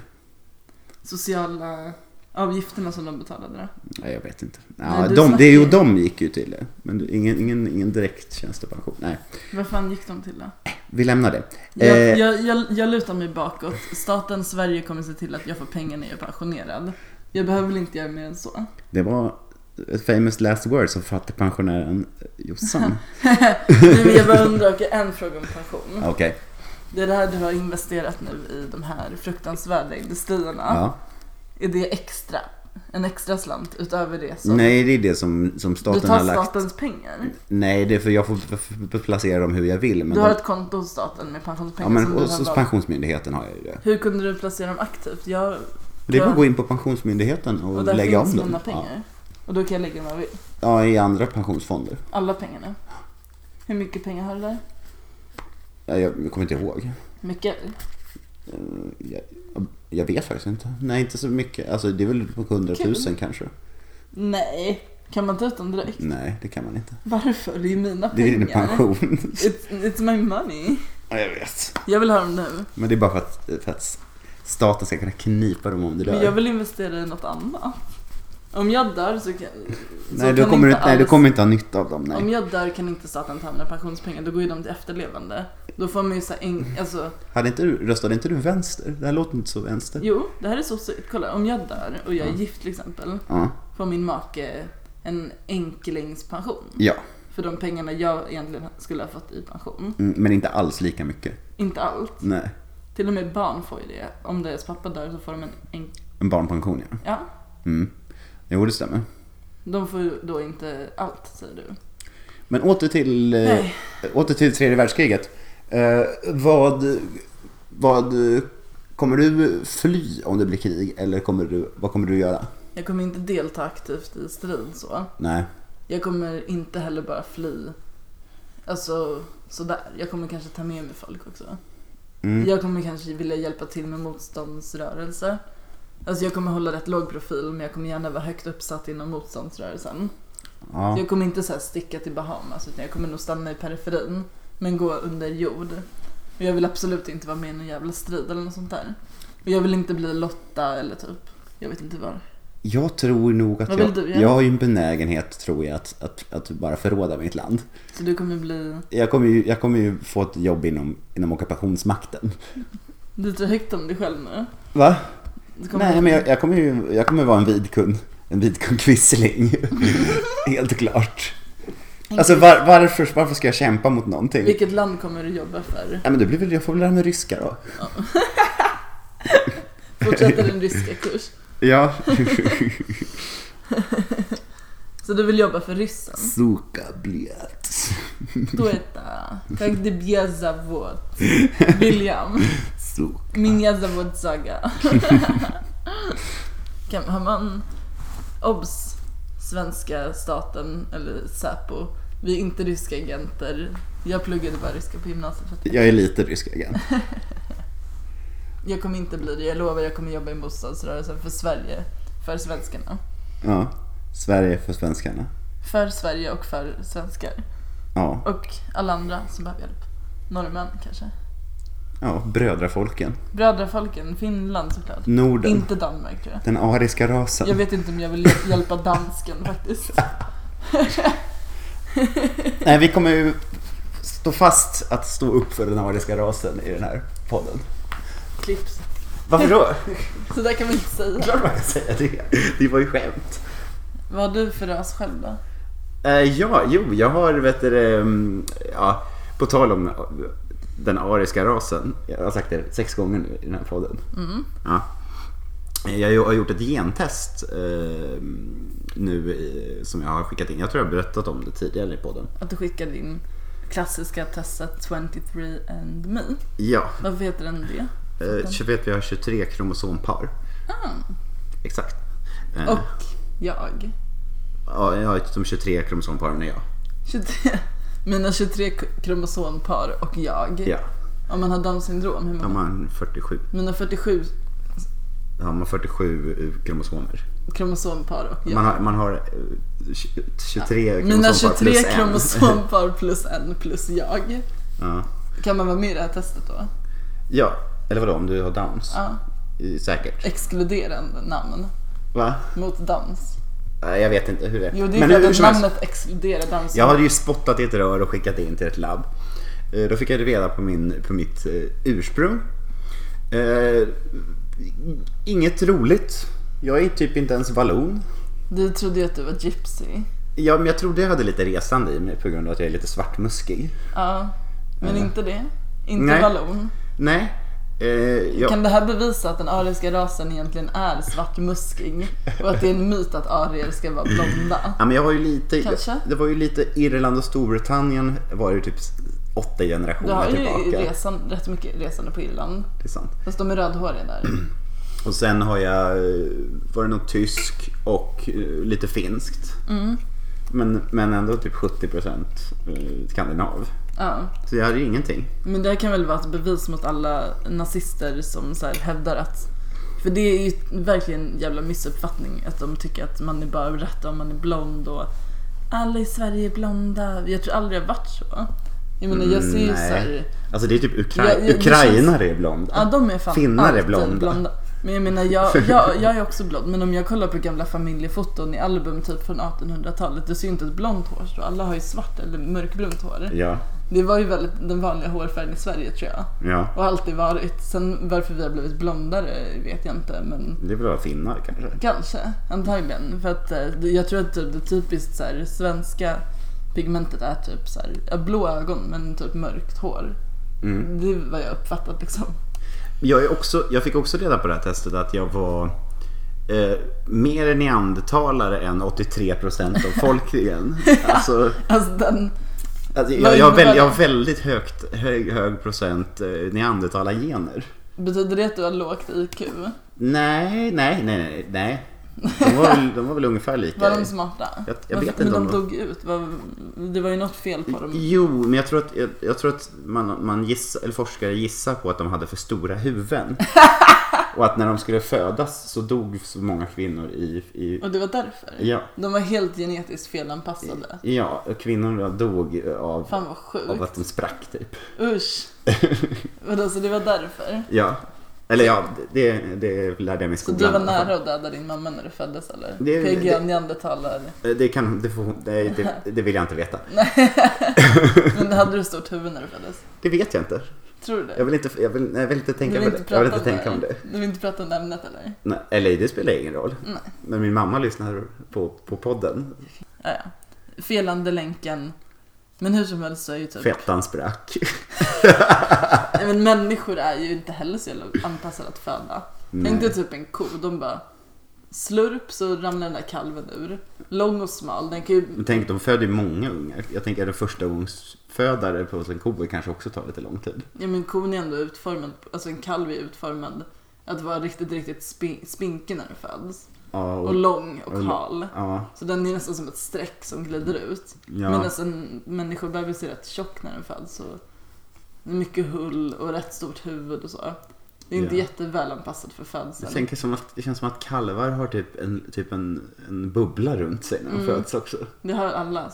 [SPEAKER 2] Sociala avgifterna som de betalade då.
[SPEAKER 1] Nej, jag vet inte.
[SPEAKER 2] Nej,
[SPEAKER 1] Ja,
[SPEAKER 2] du
[SPEAKER 1] de,
[SPEAKER 2] snackar
[SPEAKER 1] det är ju
[SPEAKER 2] ju-
[SPEAKER 1] de gick ju till det. Men du- ingen, ingen, ingen direkt tjänstepension. Nej,
[SPEAKER 2] Vad fan gick de till då?
[SPEAKER 1] vi lämnar det.
[SPEAKER 2] Jag,
[SPEAKER 1] Eh,
[SPEAKER 2] jag, jag, jag lutar mig bakåt. Staten Sverige kommer se till att jag får pengar när jag är pensionerad. Jag behöver väl inte göra mer än så.
[SPEAKER 1] Det var ett famous last words av fattigpensionären Jossan.
[SPEAKER 2] Nej, men jag bara undrar, okej, en fråga om pension.
[SPEAKER 1] Okej.
[SPEAKER 2] Det är det här du har investerat nu i de här fruktansvärda industrierna.
[SPEAKER 1] Ja.
[SPEAKER 2] Är det extra? En extra slant utöver det som...
[SPEAKER 1] Nej, det är det som, som
[SPEAKER 2] du
[SPEAKER 1] staten
[SPEAKER 2] tar
[SPEAKER 1] har lagt.
[SPEAKER 2] statens pengar.
[SPEAKER 1] Nej, det är för jag får f- f- placera dem hur jag vill. Men
[SPEAKER 2] Du har
[SPEAKER 1] de,
[SPEAKER 2] ett konto hos staten med pensionspengar
[SPEAKER 1] ja, men
[SPEAKER 2] som du
[SPEAKER 1] hos,
[SPEAKER 2] har
[SPEAKER 1] hos
[SPEAKER 2] valt.
[SPEAKER 1] Pensionsmyndigheten har jag ju det.
[SPEAKER 2] Hur kunde du placera dem aktivt? Jag...
[SPEAKER 1] Det är bara
[SPEAKER 2] jag-
[SPEAKER 1] att gå in på Pensionsmyndigheten och,
[SPEAKER 2] Och där
[SPEAKER 1] lägga om
[SPEAKER 2] finns
[SPEAKER 1] dem.
[SPEAKER 2] mina pengar. Och då kan jag lägga dem var jag vill.
[SPEAKER 1] Ja. ja, i andra pensionsfonder.
[SPEAKER 2] Alla pengarna. Hur mycket pengar har du där?
[SPEAKER 1] Ja, jag kommer inte ihåg.
[SPEAKER 2] Mycket?
[SPEAKER 1] Jag, jag vet faktiskt inte. Nej, inte så mycket. Alltså, det är väl på 100 000
[SPEAKER 2] Kul.
[SPEAKER 1] kanske.
[SPEAKER 2] Nej. Kan man ta ut dem direkt?
[SPEAKER 1] Nej, det kan man inte.
[SPEAKER 2] Varför? Det är ju mina
[SPEAKER 1] Det
[SPEAKER 2] pengar.
[SPEAKER 1] är din pension.
[SPEAKER 2] It's, it's my money.
[SPEAKER 1] ja, jag vet.
[SPEAKER 2] Jag vill ha dem nu.
[SPEAKER 1] Men det är bara för att, för att staten ska kunna knipa dem om du
[SPEAKER 2] Men jag
[SPEAKER 1] dör.
[SPEAKER 2] vill investera i något annat. Om jag dör så kan,
[SPEAKER 1] Nej,
[SPEAKER 2] så
[SPEAKER 1] du
[SPEAKER 2] kan
[SPEAKER 1] kommer,
[SPEAKER 2] inte
[SPEAKER 1] inte, nej, du
[SPEAKER 2] alls-
[SPEAKER 1] kommer inte ha nytta av dem. Nej.
[SPEAKER 2] Om jag dör kan inte staten ta mina pensionspengar. Då går ju de till efterlevande. Då får man ju så här en, alltså,
[SPEAKER 1] Hade inte du, röstade inte du vänster? Det här låter inte så vänster.
[SPEAKER 2] jo, det här är sossigt. Kolla, om jag dör och jag är gift till exempel.
[SPEAKER 1] Ja.
[SPEAKER 2] Får min make en enkelingspension.
[SPEAKER 1] ja.
[SPEAKER 2] För de pengarna jag egentligen skulle ha fått i pension.
[SPEAKER 1] Mm, Men inte alls lika mycket.
[SPEAKER 2] Inte allt.
[SPEAKER 1] Nej.
[SPEAKER 2] Till och med barn får ju det. Om deras pappa dör så får de en, en
[SPEAKER 1] En barnpension, ja.
[SPEAKER 2] ja.
[SPEAKER 1] Mm. Jo, det stämmer.
[SPEAKER 2] De får ju då inte allt säger du.
[SPEAKER 1] Men åter till, eh,
[SPEAKER 2] Nej.
[SPEAKER 1] åter till tredje världskriget. Eh, vad, vad Kommer du fly om det blir krig eller kommer du, vad kommer du göra?
[SPEAKER 2] Jag kommer inte delta aktivt i strid så.
[SPEAKER 1] Nej.
[SPEAKER 2] Jag kommer inte heller bara fly. Alltså sådär. Jag kommer kanske ta med mig folk också.
[SPEAKER 1] Mm.
[SPEAKER 2] Jag kommer kanske vilja hjälpa till med motståndsrörelse. Alltså jag kommer hålla rätt låg profil men jag kommer gärna vara högt uppsatt inom motståndsrörelsen.
[SPEAKER 1] Ja.
[SPEAKER 2] Jag kommer inte så här sticka till Bahamas utan jag kommer nog stanna i periferin. Men gå under jord. Och jag vill absolut inte vara med i någon jävla strid eller något sånt där. Och jag vill inte bli Lotta eller typ, jag vet inte vad.
[SPEAKER 1] Jag tror nog att
[SPEAKER 2] Vad
[SPEAKER 1] jag,
[SPEAKER 2] vill du göra?
[SPEAKER 1] jag har ju en benägenhet tror jag att, att, att bara förråda mitt land.
[SPEAKER 2] Så du kommer bli,
[SPEAKER 1] Jag kommer ju, jag kommer ju få ett jobb inom, inom ockupationsmakten.
[SPEAKER 2] du är högt om dig själv nu.
[SPEAKER 1] Va?
[SPEAKER 2] Du kommer
[SPEAKER 1] Nej men jag, jag kommer ju jag kommer vara en vidkun. En vidkun quisling. Helt klart. Alltså var, varför, varför ska jag kämpa mot någonting?
[SPEAKER 2] Vilket land kommer du jobba för?
[SPEAKER 1] Nej men det blir väl, jag får väl lära mig ryska då.
[SPEAKER 2] Fortsätta din ryska kurs.
[SPEAKER 1] Ja.
[SPEAKER 2] Så du vill jobba för ryssen?
[SPEAKER 1] Suka blöt.
[SPEAKER 2] Då är det... Как тебе зовут? William.
[SPEAKER 1] Suka.
[SPEAKER 2] Меня зовут Saga. kan, har man obs svenska staten eller Säpo. Vi är inte ryska agenter. Jag pluggade bara ryska på gymnasiet. För att
[SPEAKER 1] Jag är lite rysk igen.
[SPEAKER 2] jag kommer inte bli det. Jag lovar jag kommer jobba i motståndsrörelsen för Sverige. För svenskarna.
[SPEAKER 1] Ja. Sverige för svenskarna.
[SPEAKER 2] För Sverige och för svenskar.
[SPEAKER 1] Ja.
[SPEAKER 2] Och alla andra som behöver hjälp. Norrmän kanske.
[SPEAKER 1] Ja, brödrafolken.
[SPEAKER 2] Brödrafolken, Finland såklart.
[SPEAKER 1] Norden.
[SPEAKER 2] Inte Danmark tror jag.
[SPEAKER 1] Den ariska rasen.
[SPEAKER 2] Jag vet inte om jag vill hjäl- hjälpa dansken faktiskt.
[SPEAKER 1] Nej, vi kommer ju stå fast att stå upp för den ariska rasen i den här podden.
[SPEAKER 2] Klipps.
[SPEAKER 1] Varför då?
[SPEAKER 2] Så där kan man inte säga.
[SPEAKER 1] Klart man kan säga det. Det var ju skämt.
[SPEAKER 2] Vad har du för ras själv då?
[SPEAKER 1] Eh, ja, jo, jag har, vet du, det, mm, ja, på tal om eh, den ariska rasen. Jag har sagt det sex gånger nu i den här podden. Ja. Jag har gjort ett gentest eh, nu i, som jag har skickat in. Jag tror jag har berättat om det tidigare i podden.
[SPEAKER 2] Att du skickar din klassiska testet 23 and me.
[SPEAKER 1] Ja,
[SPEAKER 2] Varför heter den det?
[SPEAKER 1] eh, så vet vi har 23 kromosompar. Exakt. Eh,
[SPEAKER 2] Och jag.
[SPEAKER 1] Ja, jag har de 23 kromosomparen är jag.
[SPEAKER 2] 23, mina 23 k- kromosompar och jag.
[SPEAKER 1] Ja,
[SPEAKER 2] Om man har Downs syndrom, hur
[SPEAKER 1] då har
[SPEAKER 2] många?
[SPEAKER 1] man 47,
[SPEAKER 2] Mina 47
[SPEAKER 1] då har man 47 kromosomer.
[SPEAKER 2] kromosompar och jag.
[SPEAKER 1] Man har, man har eh, tj- 23
[SPEAKER 2] Mina
[SPEAKER 1] kromosompar
[SPEAKER 2] 23
[SPEAKER 1] plus en.
[SPEAKER 2] kromosompar plus en plus jag.
[SPEAKER 1] ja.
[SPEAKER 2] Kan man vara med i det här testet då?
[SPEAKER 1] ja, eller vadå om du har downs?
[SPEAKER 2] Ja.
[SPEAKER 1] Eh, Säkert.
[SPEAKER 2] Exkluderande namn
[SPEAKER 1] Va?
[SPEAKER 2] mot dans.
[SPEAKER 1] Nej, Jag vet inte hur det är.
[SPEAKER 2] Jo, det är
[SPEAKER 1] hur,
[SPEAKER 2] för
[SPEAKER 1] hur
[SPEAKER 2] att
[SPEAKER 1] som helst.
[SPEAKER 2] namnet exkluderar dans.
[SPEAKER 1] Jag hade ju spottat i ett rör och skickat in till ett labb. Eh, Då fick jag reda på, min, på mitt eh, ursprung. Eh, inget roligt. Jag är typ inte ens vallon.
[SPEAKER 2] Du trodde ju att du var gypsy.
[SPEAKER 1] Ja, men jag trodde jag hade lite resande i mig på grund av att jag är lite svartmuskig.
[SPEAKER 2] Ja, men inte det. Inte
[SPEAKER 1] Nej.
[SPEAKER 2] vallon.
[SPEAKER 1] Nej. Eh, jag,
[SPEAKER 2] Kan det här bevisa att den ariska rasen egentligen är svartmuskig? Och att det är en myt att arier ska vara blonda?
[SPEAKER 1] ja, men jag har ju lite...
[SPEAKER 2] Kanske?
[SPEAKER 1] Det var ju lite Irland och Storbritannien var ju typ åtta
[SPEAKER 2] Du
[SPEAKER 1] generationer
[SPEAKER 2] har ju
[SPEAKER 1] tillbaka.
[SPEAKER 2] resan, rätt mycket resande på Irland.
[SPEAKER 1] Det är sant.
[SPEAKER 2] Fast de är rödhåriga där.
[SPEAKER 1] Mm. Och sen har jag eh, varit något tysk och eh, lite finskt.
[SPEAKER 2] Mm.
[SPEAKER 1] Men, men ändå typ 70% eh, skandinav.
[SPEAKER 2] Ja.
[SPEAKER 1] Så jag hade ju ingenting.
[SPEAKER 2] Men det här kan väl vara ett bevis mot alla nazister som så här hävdar att för det är ju verkligen en jävla missuppfattning att de tycker att man är bara rätt om man är blond och alla i Sverige är blonda. Jag tror aldrig det har varit så. Jag menar jag ser ju
[SPEAKER 1] nej.
[SPEAKER 2] såhär,
[SPEAKER 1] Alltså det är typ Ukra-
[SPEAKER 2] Ja, ja, det
[SPEAKER 1] ukrainare
[SPEAKER 2] känns-
[SPEAKER 1] är blonda.
[SPEAKER 2] ja de är fan
[SPEAKER 1] Finnar är
[SPEAKER 2] alltid
[SPEAKER 1] blonda.
[SPEAKER 2] Men jag menar jag, jag, jag är också blond men om jag kollar på gamla familjefoton i album typ från 1800-talet du ser ju inte ett blont hår så alla har ju svart eller mörkbrunt hår.
[SPEAKER 1] Ja,
[SPEAKER 2] Det var ju väldigt den vanliga hårfärgen i Sverige tror jag.
[SPEAKER 1] ja.
[SPEAKER 2] Och alltid varit. Sen varför vi har blivit blondare vet jag inte men
[SPEAKER 1] Det är väl bara finnar kanske.
[SPEAKER 2] kanske. Antagligen. För att eh, det- jag tror att typ det typiskt så här, svenska pigmentet är typ så här, ja, blå ögon men typ mörkt hår.
[SPEAKER 1] Mm.
[SPEAKER 2] Det är vad jag uppfattat liksom.
[SPEAKER 1] Jag, är också, jag fick också reda på det här testet att jag var eh, mer neandertalare än 83% av folkligen. alltså,
[SPEAKER 2] Alltså den,
[SPEAKER 1] alltså,
[SPEAKER 2] Vad
[SPEAKER 1] jag, jag, har väl,
[SPEAKER 2] innebär
[SPEAKER 1] jag
[SPEAKER 2] det?
[SPEAKER 1] har väldigt högt, hög, hög procent eh, neandertalargener.
[SPEAKER 2] Betyder det att du har lågt IQ?
[SPEAKER 1] Nej, nej, nej, nej, nej. De var väl, de var väl ungefär lika.
[SPEAKER 2] Var de smarta?
[SPEAKER 1] Jag- jag vet
[SPEAKER 2] men,
[SPEAKER 1] inte
[SPEAKER 2] men
[SPEAKER 1] om
[SPEAKER 2] de
[SPEAKER 1] de-
[SPEAKER 2] dog ut. Var, det var ju något fel på dem.
[SPEAKER 1] Jo, men jag tror att, jag, jag tror att man, man gissar, eller forskare gissar på att de hade för stora huvuden. Och att när de skulle födas så dog så många kvinnor i... i
[SPEAKER 2] Och det var därför?
[SPEAKER 1] ja,
[SPEAKER 2] De var helt genetiskt felanpassade.
[SPEAKER 1] ja, och kvinnorna dog av,
[SPEAKER 2] Fan vad
[SPEAKER 1] av
[SPEAKER 2] sjukt.
[SPEAKER 1] att de sprack typ.
[SPEAKER 2] Usch. Vadå, så det var därför?
[SPEAKER 1] Ja. Eller ja, det, det lärde jag mig i
[SPEAKER 2] Så
[SPEAKER 1] skolan.
[SPEAKER 2] du var
[SPEAKER 1] i alla fall.
[SPEAKER 2] nära att döda din mamma när du föddes eller?
[SPEAKER 1] Det-
[SPEAKER 2] PGA
[SPEAKER 1] det-
[SPEAKER 2] neandertalare.
[SPEAKER 1] Eh, Det, kan, det, får, det, det, det vill jag inte veta.
[SPEAKER 2] Men hade du stort huvud när du föddes?
[SPEAKER 1] Det vet jag inte.
[SPEAKER 2] Tror du det?
[SPEAKER 1] Jag vill inte, jag vill, nej, jag vill inte tänka
[SPEAKER 2] du
[SPEAKER 1] på
[SPEAKER 2] vill
[SPEAKER 1] det.
[SPEAKER 2] inte
[SPEAKER 1] Jag
[SPEAKER 2] prata
[SPEAKER 1] vill inte tänka om det.
[SPEAKER 2] Du vill inte prata om det ämnet eller?
[SPEAKER 1] Nej, eller det spelar ingen roll.
[SPEAKER 2] Nej.
[SPEAKER 1] Men min mamma lyssnar på, på podden.
[SPEAKER 2] Ja, ja. Felande länken. Men hur som helst så är ju typ...
[SPEAKER 1] Fettan sprack.
[SPEAKER 2] Nej, Men människor är ju inte heller så jävla anpassade att föda. Tänk dig typ en ko, de bara slurp så ramlar den där kalven ur. Lång och smal, den kan ju...
[SPEAKER 1] Men tänk, de föder ju många ungar. Jag tänker att en första ungsfödare på en ko kanske också tar lite lång tid.
[SPEAKER 2] Ja men kon är ändå utformad, alltså en kalv är utformad att vara riktigt, riktigt spin- spinkig när den föds.
[SPEAKER 1] Ja,
[SPEAKER 2] Och lång och
[SPEAKER 1] och lo-
[SPEAKER 2] hal.
[SPEAKER 1] Ja,
[SPEAKER 2] Så den är nästan som ett streck som glider ut.
[SPEAKER 1] Ja.
[SPEAKER 2] Medan en människobebis är rätt tjock när den föds. Så det är mycket hull och rätt stort huvud och så. Det är inte
[SPEAKER 1] Ja.
[SPEAKER 2] jätteväl anpassat för födseln.
[SPEAKER 1] jag tänker som att, det känns som att kalvar har typ en, typ en, en bubbla runt sig när de
[SPEAKER 2] Mm.
[SPEAKER 1] föds också.
[SPEAKER 2] Det har alla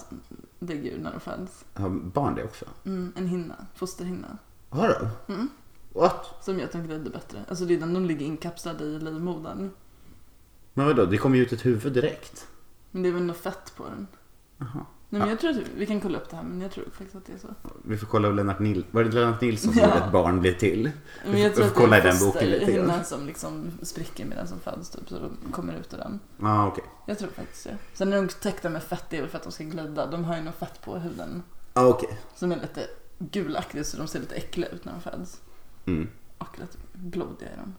[SPEAKER 2] däggdjur när de föds.
[SPEAKER 1] Har barn det också?
[SPEAKER 2] Mm, en hinna, fosterhinna.
[SPEAKER 1] Har de?
[SPEAKER 2] Mm.
[SPEAKER 1] What?
[SPEAKER 2] Som gör att de glider bättre. Alltså det är den de ligger inkapslade i livmodern.
[SPEAKER 1] Men vadå, det kommer ju ut ett huvud direkt.
[SPEAKER 2] Men det är väl något fett på den.
[SPEAKER 1] Jaha.
[SPEAKER 2] Nej, men jag tror att vi kan kolla upp det här men jag tror faktiskt att det är så.
[SPEAKER 1] Vi får kolla om Lennart Nil- var det Lennart Nilsson som
[SPEAKER 2] Ja.
[SPEAKER 1] gjorde att barn blir till.
[SPEAKER 2] Men jag
[SPEAKER 1] Vi får
[SPEAKER 2] tror att det
[SPEAKER 1] kolla i
[SPEAKER 2] är
[SPEAKER 1] den
[SPEAKER 2] en
[SPEAKER 1] boken lite grann.
[SPEAKER 2] fosterhinna som liksom spricker medan som föds typ så de kommer ut ur den.
[SPEAKER 1] Ja, okej.
[SPEAKER 2] Jag tror faktiskt det. Sen är de täckta med fett, det är väl för att de ska glida. De har ju något fett på huden
[SPEAKER 1] Ja, Ah, okej.
[SPEAKER 2] som är lite gulaktigt så de ser lite äckliga ut när de föds.
[SPEAKER 1] Mm.
[SPEAKER 2] Och lite blodiga är de.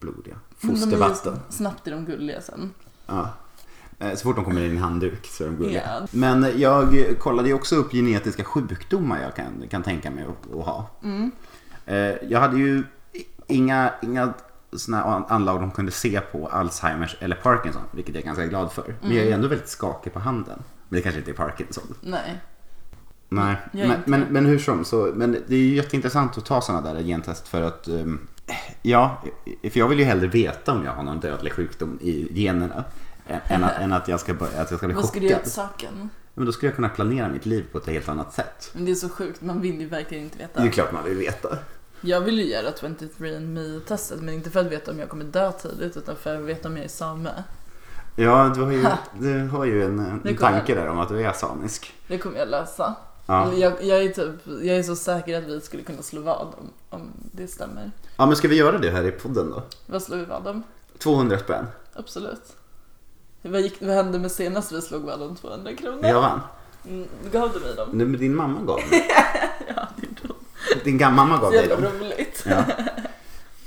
[SPEAKER 1] Blodiga.
[SPEAKER 2] Men de är ju-
[SPEAKER 1] Fostervatten.
[SPEAKER 2] Snabbt är de gulliga sen.
[SPEAKER 1] Ja. Eh, Så fort de kommer in i en handduk så är de gulliga.
[SPEAKER 2] Ja.
[SPEAKER 1] Men jag kollade ju också upp genetiska sjukdomar jag kan, kan tänka mig att, att ha. Eh, Jag hade ju i- inga, inga såna an- anlag de kunde se på Alzheimers eller Parkinson, vilket jag är ganska glad för. Men jag är ändå väldigt skakig på handen. Men det kanske inte är Parkinson.
[SPEAKER 2] Nej.
[SPEAKER 1] Nej,
[SPEAKER 2] jag är
[SPEAKER 1] men,
[SPEAKER 2] inte.
[SPEAKER 1] men, men hur som. Så, men det är ju jätteintressant att ta sådana där gentest för att ehm, Ja, för jag vill ju hellre veta om jag har någon dödlig sjukdom i generna än- än att, än att, jag, ska, börja- att jag ska bli
[SPEAKER 2] Vad ska du
[SPEAKER 1] chockad.
[SPEAKER 2] göra åt saken?
[SPEAKER 1] Men då skulle jag kunna planera mitt liv på ett helt annat sätt.
[SPEAKER 2] Men det är så sjukt, man vill ju verkligen inte
[SPEAKER 1] Det är ju
[SPEAKER 2] veta.
[SPEAKER 1] klart man vill veta.
[SPEAKER 2] Jag vill ju göra 23andMe-testet men inte för att veta om jag kommer dö tidigt utan för att veta om jag är same.
[SPEAKER 1] Ja, du har ju, du har ju en,
[SPEAKER 2] Nu
[SPEAKER 1] en
[SPEAKER 2] kommer
[SPEAKER 1] tanke där om att du är samisk.
[SPEAKER 2] Det kommer jag lösa.
[SPEAKER 1] Ja.
[SPEAKER 2] Eller Jag, jag, är typ, jag är så säker att vi skulle kunna slå vad om, om det stämmer.
[SPEAKER 1] Ja, men ska vi göra det här i podden då?
[SPEAKER 2] Vad slår vi vad om?
[SPEAKER 1] 200 spänn.
[SPEAKER 2] Absolut. Vad, gick, vad hände med senast vi slog vad om 200 kronor?
[SPEAKER 1] Jag vann.
[SPEAKER 2] Mm, gav du mig dem?
[SPEAKER 1] Nej, men Din mamma gav mig.
[SPEAKER 2] Ja, det gjorde de.
[SPEAKER 1] Din gammalmamma gav
[SPEAKER 2] Så
[SPEAKER 1] dig
[SPEAKER 2] jävla
[SPEAKER 1] dem.
[SPEAKER 2] roligt.
[SPEAKER 1] Ja.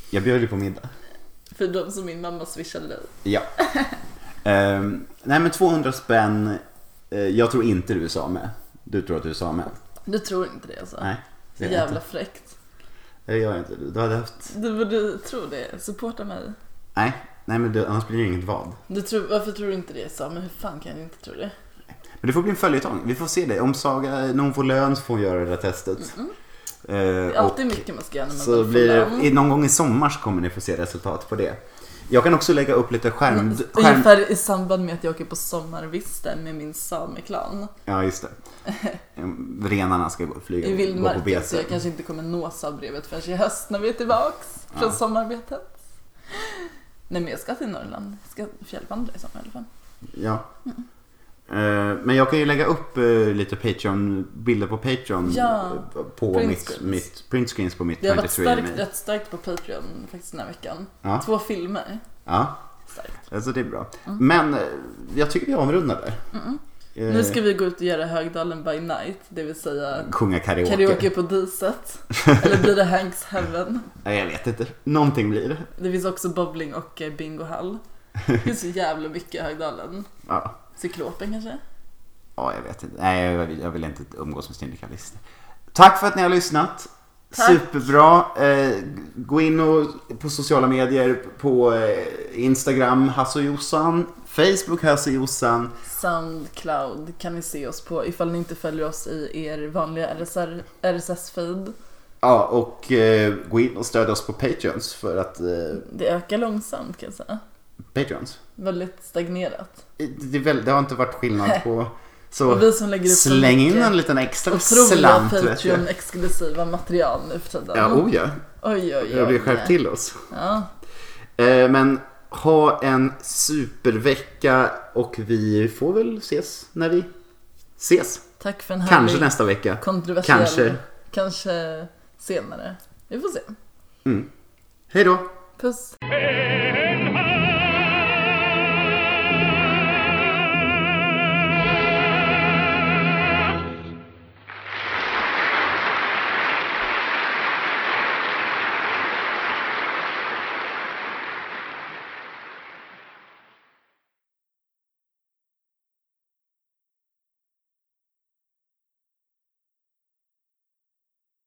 [SPEAKER 1] Jag bjöd dig på middag.
[SPEAKER 2] För de som min mamma swishade dig.
[SPEAKER 1] Ja. Ehm, nej men 200 spänn. eh, jag tror inte du är same. Du tror att du är same?
[SPEAKER 2] Du tror inte det alltså?
[SPEAKER 1] Nej.
[SPEAKER 2] Så
[SPEAKER 1] det gör jag
[SPEAKER 2] jävla
[SPEAKER 1] inte.
[SPEAKER 2] fräckt.
[SPEAKER 1] Det gör jag inte. Du hade haft...
[SPEAKER 2] Du borde tro det. Supporta mig.
[SPEAKER 1] Nej. Nej men du, annars blir det ju inget vad.
[SPEAKER 2] Du tror, varför tror du inte det Sam? Men hur fan kan jag inte tro det?
[SPEAKER 1] Men det får bli en följetong. Vi får se det. Om Saga, när hon får lön så får hon göra det där testet. Eh,
[SPEAKER 2] Det är alltid
[SPEAKER 1] och
[SPEAKER 2] mycket man ska göra när man
[SPEAKER 1] så
[SPEAKER 2] väl
[SPEAKER 1] blir
[SPEAKER 2] får
[SPEAKER 1] det,
[SPEAKER 2] barn.
[SPEAKER 1] någon gång i sommar så kommer ni få se resultat på det. Jag kan också lägga upp lite skärm... skärm
[SPEAKER 2] Mm, Ungefär i samband med att jag åker på sommarviste med min sameklan
[SPEAKER 1] ja just det. Ehm, Renarna ska gå, flyga,
[SPEAKER 2] i
[SPEAKER 1] gå på
[SPEAKER 2] vildmarken typ. så
[SPEAKER 1] bete.
[SPEAKER 2] jag kanske inte kommer nås av brevet förrän i höst när vi är tillbaks från sommarbetet. Nej men jag ska till Norrland, jag ska fjällvandra i sommar i alla fall.
[SPEAKER 1] Ja. Eh, Men jag kan ju lägga upp eh, lite Patreon, bilder på Patreon
[SPEAKER 2] Ja,
[SPEAKER 1] eh, på
[SPEAKER 2] print
[SPEAKER 1] mitt,
[SPEAKER 2] screens.
[SPEAKER 1] mitt printscreens på mitt
[SPEAKER 2] Det har varit
[SPEAKER 1] 23
[SPEAKER 2] starkt,
[SPEAKER 1] mail.
[SPEAKER 2] rätt starkt på Patreon faktiskt den här veckan.
[SPEAKER 1] Ja.
[SPEAKER 2] Två filmer.
[SPEAKER 1] Ja,
[SPEAKER 2] Starkt. Mm.
[SPEAKER 1] alltså det är bra. Men eh, jag tycker vi avrundar där. Eh,
[SPEAKER 2] Nu ska vi gå ut och göra Högdalen by night, det vill säga
[SPEAKER 1] Sjunga karaoke.
[SPEAKER 2] karaoke på diset. Eller blir det Hanks Heaven?
[SPEAKER 1] Nej, jag vet inte. Någonting blir det.
[SPEAKER 2] Det finns också bowling och eh, bingohall. Det finns så jävla mycket i Högdalen.
[SPEAKER 1] Ja,
[SPEAKER 2] Cyklopen kanske?
[SPEAKER 1] ja jag vet inte. Nej, jag vill, jag vill inte umgås med syndikalister. Tack för att ni har lyssnat.
[SPEAKER 2] Tack.
[SPEAKER 1] Superbra. Eh, gå in och på sociala medier på eh, Instagram Hasse och Jossan, Facebook Hasse och Jossan.
[SPEAKER 2] Soundcloud kan ni se oss på ifall ni inte följer oss i er vanliga RSR, RSS-feed.
[SPEAKER 1] Ja, och eh, gå in och stöd oss på Patreons för att... Eh,
[SPEAKER 2] Det ökar långsamt kan jag säga.
[SPEAKER 1] Patreons?
[SPEAKER 2] Väldigt stagnerat.
[SPEAKER 1] Det, är väl, det har inte varit skillnad på... Så
[SPEAKER 2] Och vi som lägger upp så
[SPEAKER 1] släng in
[SPEAKER 2] mycket
[SPEAKER 1] en liten extra
[SPEAKER 2] Otroliga
[SPEAKER 1] slant. vet du.
[SPEAKER 2] Patreon-exklusiva material nu för tiden.
[SPEAKER 1] Ja, oh ja.
[SPEAKER 2] Oj, oj, oj.
[SPEAKER 1] Jag blir skärpt till oss.
[SPEAKER 2] Ja.
[SPEAKER 1] Eh, men ha en supervecka och vi får väl ses när vi ses.
[SPEAKER 2] Tack för en härlig
[SPEAKER 1] Kanske nästa vecka.
[SPEAKER 2] kontroversiell.
[SPEAKER 1] Kanske.
[SPEAKER 2] Kanske senare. Vi får se.
[SPEAKER 1] Hej då!
[SPEAKER 2] Puss.
[SPEAKER 5] Hey, hey,